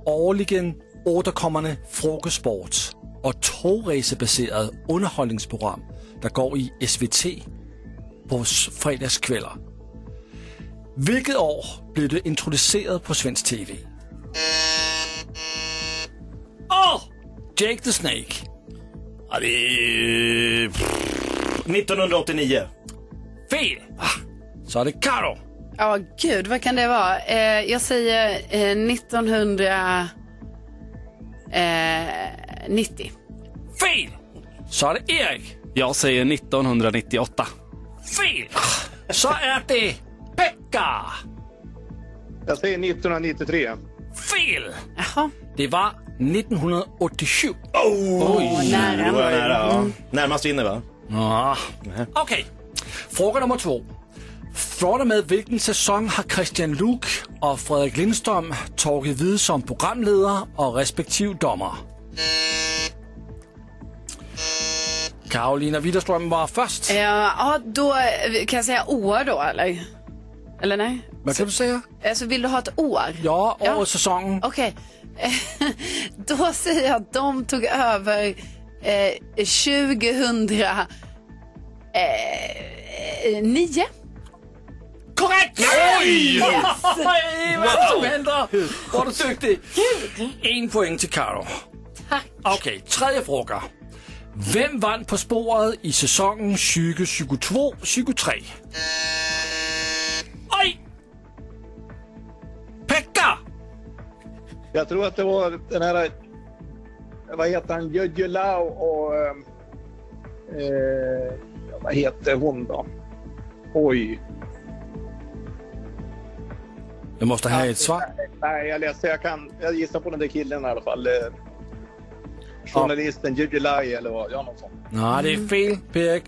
S5: årligen återkommande frågesport och tågresebaserat underhållningsprogram där går i SVT på s- fredagskvällar. Vilket år blev det introducerat på svensk TV? Åh! oh, Jake the Snake.
S4: Ja, det är... 1989.
S5: Fel! Ah, Så är det Karo.
S6: Ja, gud, vad kan det vara? Eh, jag säger eh, 1990. eh,
S5: Fel! Så är det Erik.
S3: Jag säger 1998.
S5: Fel! Så är det Pekka.
S14: Jag säger 1993.
S5: Fel! Det var 1987.
S4: Oh,
S5: Oj. nära.
S4: Det var nära. ja.
S5: Mm.
S4: Närmast vinner va?
S5: Ja. Okej. Fråga nummer två. Från och med vilken säsong har Christian Luuk och Fredrik Lindström tagit vid som programledare och respektive domare? Karolina Widerström var först.
S6: Eh, ja, då eh, kan jag säga år då eller? Eller nej?
S5: Vad kan du säga?
S6: Alltså vill du ha ett år?
S5: Ja, år och säsong.
S6: Okej. Då säger jag att de tog över eh, 2009. Eh, nio.
S5: Korrekt!
S15: Oj!
S5: Yes! Vad som
S15: Wow!
S5: händer? Var du duktig? En poäng till Karo. Okej, tredje fråga. Vem vann På spåret i säsongen 2022-23? Oj! Pekka!
S14: Jag tror att det var den här... Vad heter han? Jojo Lau och... ehm, Eh, ja, vad heter hon då? Oj.
S5: Jag måste ha ett svar.
S14: Nej, jag läste. Jag, kan, jag gissar på den där killen i alla fall. Eh, journalisten Jojo Lai eller vad? Ja, någon sån.
S5: Nej, det är fel, Pek.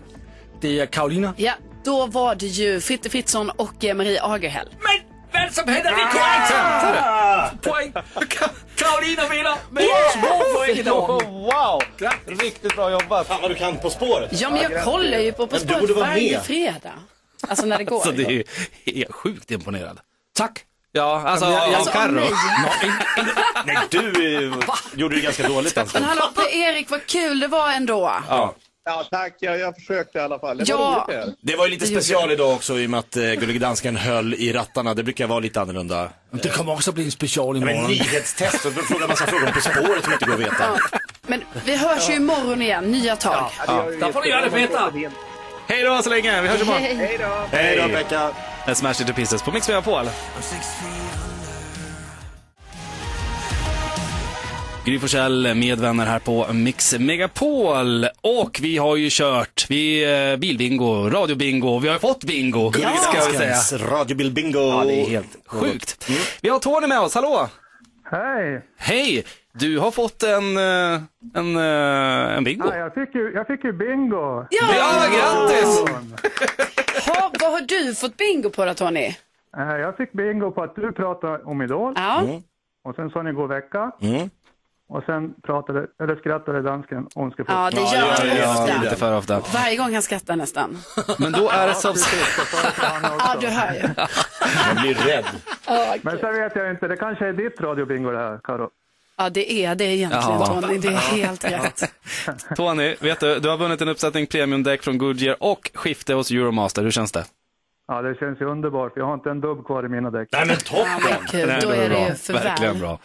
S5: Det är Karolina.
S6: Ja, då var det ju Fritte Fritzson och eh, Marie Agerhäll.
S5: Vad som händer? Det är Ah! korrekt! Poäng! Karolina vinner med två poäng idag.
S4: Wow! Riktigt bra jobbat! Fan vad du kan På spåret!
S6: Ja, men jag kollar ju på På
S4: Men du
S6: spåret
S4: borde vara
S6: varje
S4: med.
S6: fredag. Alltså när det går.
S3: Alltså, det är ju helt sjukt imponerad.
S5: Tack.
S3: Ja, alltså,
S4: Ja, men jag-
S3: av Carro.
S4: Alltså, Nej, du eh, gjorde det ganska dåligt alltså.
S6: Men hallå Per-Erik, vad kul det var ändå.
S4: Ja.
S14: Ja, tack. Jag, jag försökte i alla fall. Det
S6: Ja.
S14: var roligt det här.
S4: Det var ju lite special idag också i och med att eh, Gullige Dansken höll i rattarna. Det brukar vara lite annorlunda. Mm.
S5: Det kommer också bli en special
S4: Men
S5: imorgon.
S4: nyhetstest och fråga massa frågor om På spåret som inte går att veta.
S6: Men vi hörs ju imorgon igen, nya tag.
S3: Ja,
S5: Tá
S3: där får du göra det Peter. Hej då så länge, vi hörs imorgon.
S6: Hej
S14: då.
S4: Hej då, Pekka.
S3: Det är Smash Into Pieces på Mix Megapol. Gry Forssell med vänner här på Mix Megapol. Och vi har ju kört vi, eh, bilbingo, radiobingo, vi har ju fått bingo.
S4: Gullige
S3: ska vi
S4: Danskens
S3: säga.
S4: radiobilbingo.
S3: Mm. Ja, det är helt sjukt. Vi har Tony med oss, hallå!
S9: Hej!
S3: Hej! Du har fått en, eh, en, eh, en bingo.
S9: Ja, jag, fick ju, jag fick ju bingo!
S3: Ja, grattis!
S6: Ha, vad har du fått bingo på då Tony?
S9: Eh, Jag fick bingo på att du pratade om Idol.
S6: Ja. Mm.
S9: Och sen sa ni god vecka.
S4: Mm.
S9: Och sen pratade, eller skrattade dansken ondskefullt.
S6: Ja, det gör han ofta.
S3: Inte för ofta.
S6: Varje gång han skrattar nästan.
S3: Men då är det som...
S6: Ja, du hör ju.
S4: Man blir rädd.
S9: Men sen vet jag inte, det kanske är ditt radiobingo det här, Karo.
S6: Ja, det är det egentligen
S3: Ja.
S6: Tony. Det är helt rätt.
S3: Tony, vet du, du har vunnit en uppsättning premiumdäck från Goodyear och skifte hos Euromaster. Hur känns det?
S9: Ja, det känns ju underbart, för jag har inte en dubb kvar i mina däck.
S3: Nej, men toppen! Nej, det var bra. Verkligen bra.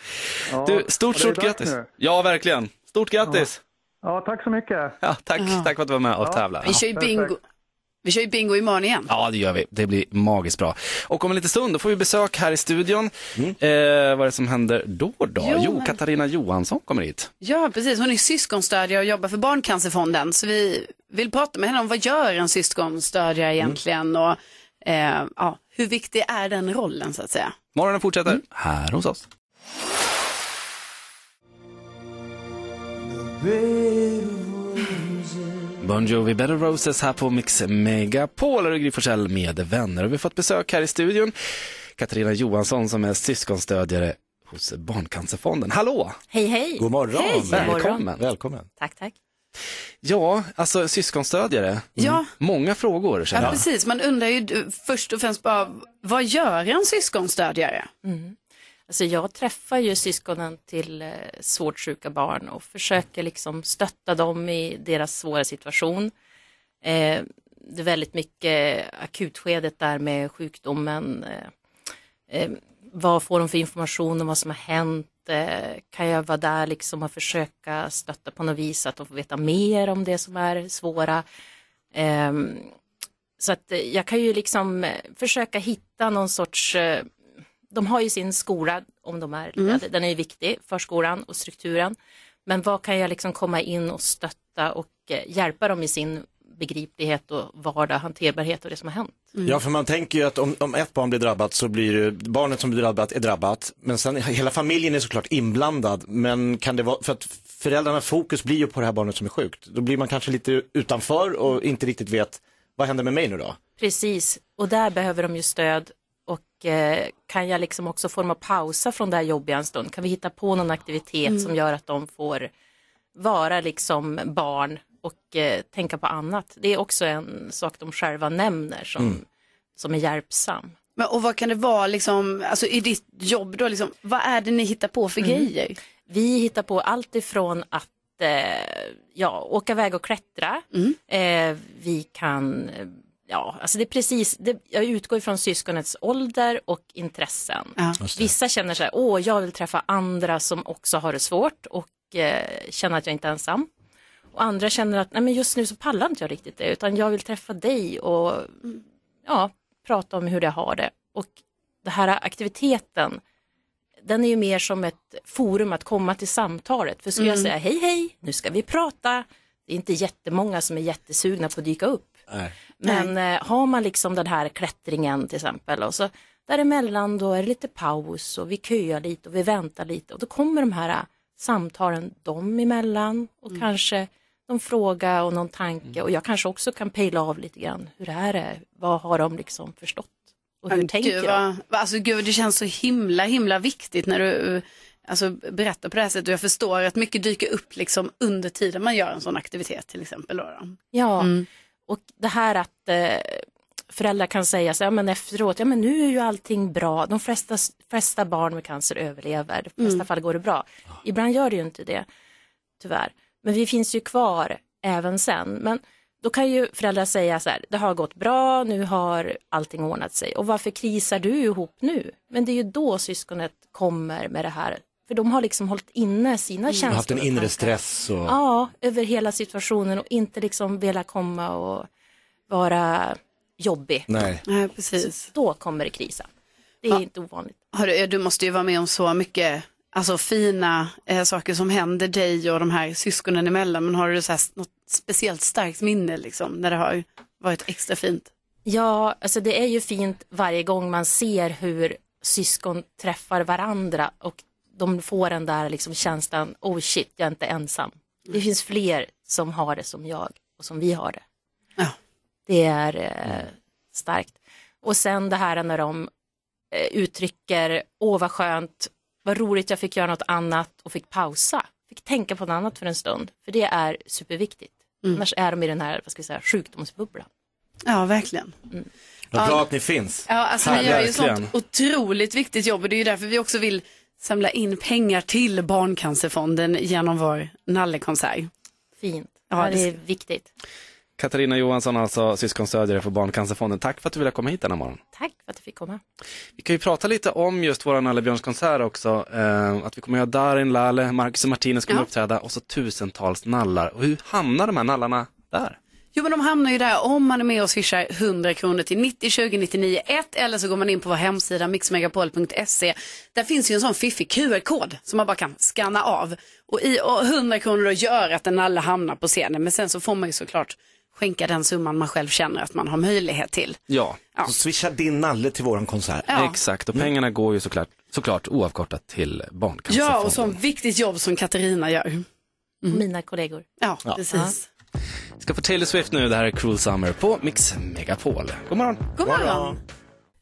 S9: Ja,
S3: Du,
S9: och
S3: stort,
S9: det är
S3: stort
S9: dags
S3: grattis.
S9: nu.
S3: Ja, verkligen. Stort grattis.
S9: Ja, tack så mycket.
S3: Ja, tack, tack för att du var med och tävlade.
S6: Vi kör ju bingo. Vi kör ju bingo imorgon igen.
S3: Ja, det gör vi. Det blir magiskt bra. Och om en liten stund då får vi besök här i studion. Eh, vad är det som händer då? då? Jo,
S6: Jo, men-
S3: Katarina Johansson kommer hit.
S6: Ja, precis. Hon är syskonstödjare och jobbar för Barncancerfonden. Så vi vill prata med henne om vad gör en syskonstödjare egentligen
S3: Mm.
S6: och eh, ja, hur viktig är den rollen så att säga.
S3: Morgonen fortsätter här hos oss. Bon Jovi, Better Roses här på Mix Megapol och Gry Forssell med vänner. Och vi har fått besök här i studion. Katarina Johansson som är syskonstödjare hos Barncancerfonden. Hallå!
S16: Hej, hej.
S3: God morgon.
S16: Hej.
S3: Välkommen.
S4: Välkommen.
S16: Tack, tack.
S3: Ja, alltså syskonstödjare.
S6: Ja.
S3: Många frågor känner
S6: Ja,
S3: jag.
S6: precis. Man undrar ju du, först och främst bara, vad gör en syskonstödjare?
S16: Alltså jag träffar ju syskonen till eh, svårt sjuka barn och försöker liksom stötta dem i deras svåra situation. Eh, det är väldigt mycket akutskedet där med sjukdomen. Eh, eh, vad får de för information om vad som har hänt? Eh, kan jag vara där liksom och försöka stötta på något vis så att de får veta mer om det som är svåra? Ehm, så att eh, jag kan ju liksom eh, försöka hitta någon sorts, eh, de har ju sin skola om de är,
S6: Mm.
S16: den är ju viktig, förskolan och strukturen. Men vad kan jag liksom komma in och stötta och eh, hjälpa dem i sin begriplighet och vardag, hanterbarhet och det som har hänt?
S4: Ja, för man tänker ju att om, om ett barn blir drabbat så blir det, barnet som blir drabbat är drabbat, men sen hela familjen är såklart inblandad, men kan det vara, för att föräldrarnas fokus blir ju på det här barnet som är sjukt, då blir man kanske lite utanför och inte riktigt vet, vad händer med mig nu då?
S16: Precis, och där behöver de ju stöd. Och eh, kan jag liksom också få dem att pausa från det här jobbiga en stund? Kan vi hitta på någon aktivitet
S6: Mm.
S16: som gör att de får vara liksom barn och eh, tänka på annat? Det är också en sak de själva nämner som, som är hjälpsam.
S6: Men, och vad kan det vara liksom, alltså i ditt jobb då, liksom, vad är det ni hittar på för
S16: Mm.
S6: grejer?
S16: Vi hittar på allt ifrån att eh, ja, åka iväg och klättra. Eh, vi kan, eh, ja, alltså det är precis, det, jag utgår ifrån syskonets ålder och intressen.
S6: Ja.
S16: Just det. Vissa känner så här, åh, jag vill träffa andra som också har det svårt och eh, känna att jag inte är ensam. Och andra känner att, nej men just nu så pallar inte jag riktigt det, utan jag vill träffa dig och ja, prata om hur jag har det. Och den här aktiviteten, den är ju mer som ett forum att komma till samtalet. För skulle jag
S6: Mm.
S16: säga hej hej, nu ska vi prata, det är inte jättemånga som är jättesugna på att dyka upp. Men eh, har man liksom den här klättringen till exempel och så däremellan då är det lite paus och vi köar lite och vi väntar lite och då kommer de här eh, samtalen dem emellan och kanske någon fråga och någon tanke och jag kanske också kan pejla av lite grann hur det här är, vad har de liksom förstått och hur
S6: Men
S16: tänker
S6: gud,
S16: de?
S6: vad, vad- alltså, gud, det känns så himla, himla viktigt när du eh, alltså, berättar på det här sättet. Och jag förstår att mycket dyker upp liksom, under tiden man gör en sån aktivitet till exempel. Då, då.
S16: Ja,
S6: Mm.
S16: och det här att eh, föräldrar kan säga så, här, ja, men efteråt, ja men nu är ju allting bra, de flesta, flesta barn med cancer överlever, de flesta
S6: Mm.
S16: fall går det bra. Ibland gör det ju inte det, tyvärr. Men vi finns ju kvar även sen. Men då kan ju föräldrar säga så här, det har gått bra, nu har allting ordnat sig och varför krisar du ihop nu? Men det är ju då syskonet kommer med det här, för de har liksom hållit inne sina
S4: Man har
S16: känslor.
S4: haft en
S16: och
S4: inre
S16: tankar.
S4: stress och...
S16: Ja, över hela situationen och inte liksom vilja komma och vara jobbig.
S4: Nej.
S6: Nej, precis.
S16: Så då kommer det krisa. Det är inte ovanligt.
S6: Hörru, du måste ju vara med om så mycket alltså, fina eh, saker som händer dig och de här syskonen emellan. Men har du så här, något speciellt starkt minne liksom, när det har varit extra fint?
S16: Ja, alltså det är ju fint varje gång man ser hur syskon träffar varandra och de får den där liksom känslan, oh shit, jag är inte ensam. Det finns fler som har det som jag och som vi har det. Det är eh, starkt. Och sen det här när de eh, uttrycker, åh vad skönt, vad roligt jag fick göra något annat och fick pausa, fick tänka på något annat för en stund, för det är superviktigt.
S17: Mm.
S16: Annars är de i den här, vad ska vi säga, sjukdomsbubblan.
S17: Ja, verkligen.
S4: Vad
S16: Ja.
S4: bra att ni finns.
S6: Ja, alltså ni
S4: Tack,
S6: gör ju
S4: verkligen.
S6: sånt otroligt viktigt jobb och det är ju därför vi också vill samla in pengar till Barncancerfonden genom vår nallekonsert.
S16: Fint.
S6: Ja,
S16: Ja,
S6: det
S16: det är
S6: ska-
S16: viktigt.
S3: Katarina Johansson, alltså syskonstödjare för Barncancerfonden. Tack för att du ville komma hit denna morgon.
S16: Tack för att du fick komma.
S3: Vi kan ju prata lite om just vår nallebjörnskonsert också. Eh, att vi kommer att göra Darin Lalle, Marcus och Martinus kommer
S6: Ja.
S3: uppträda och så tusentals nallar. Och hur hamnar de här nallarna där?
S6: Jo men de hamnar ju där om man är med och swishar 100 kronor till 90 20 99 1 eller så går man in på vår hemsida mixmegapol.se. Där finns ju en sån fiffig QR-kod som man bara kan scanna av. Och i och 100 kronor då gör att den alla hamnar på scenen men sen så får man ju såklart skänka den summan man själv känner att man har möjlighet till.
S3: Ja.
S4: Så swisha din nalle till våran konsert.
S6: Ja.
S3: Exakt, och pengarna går ju såklart, såklart oavkortat till Barncancerfonden.
S6: Ja, och så viktigt jobb som Katarina gör. Mm.
S16: Mina kollegor.
S6: Ja,
S3: Ja.
S6: precis.
S3: Vi ska få Taylor Swift nu, det här är Cruel Summer på Mix Megapol. God morgon!
S6: God morgon!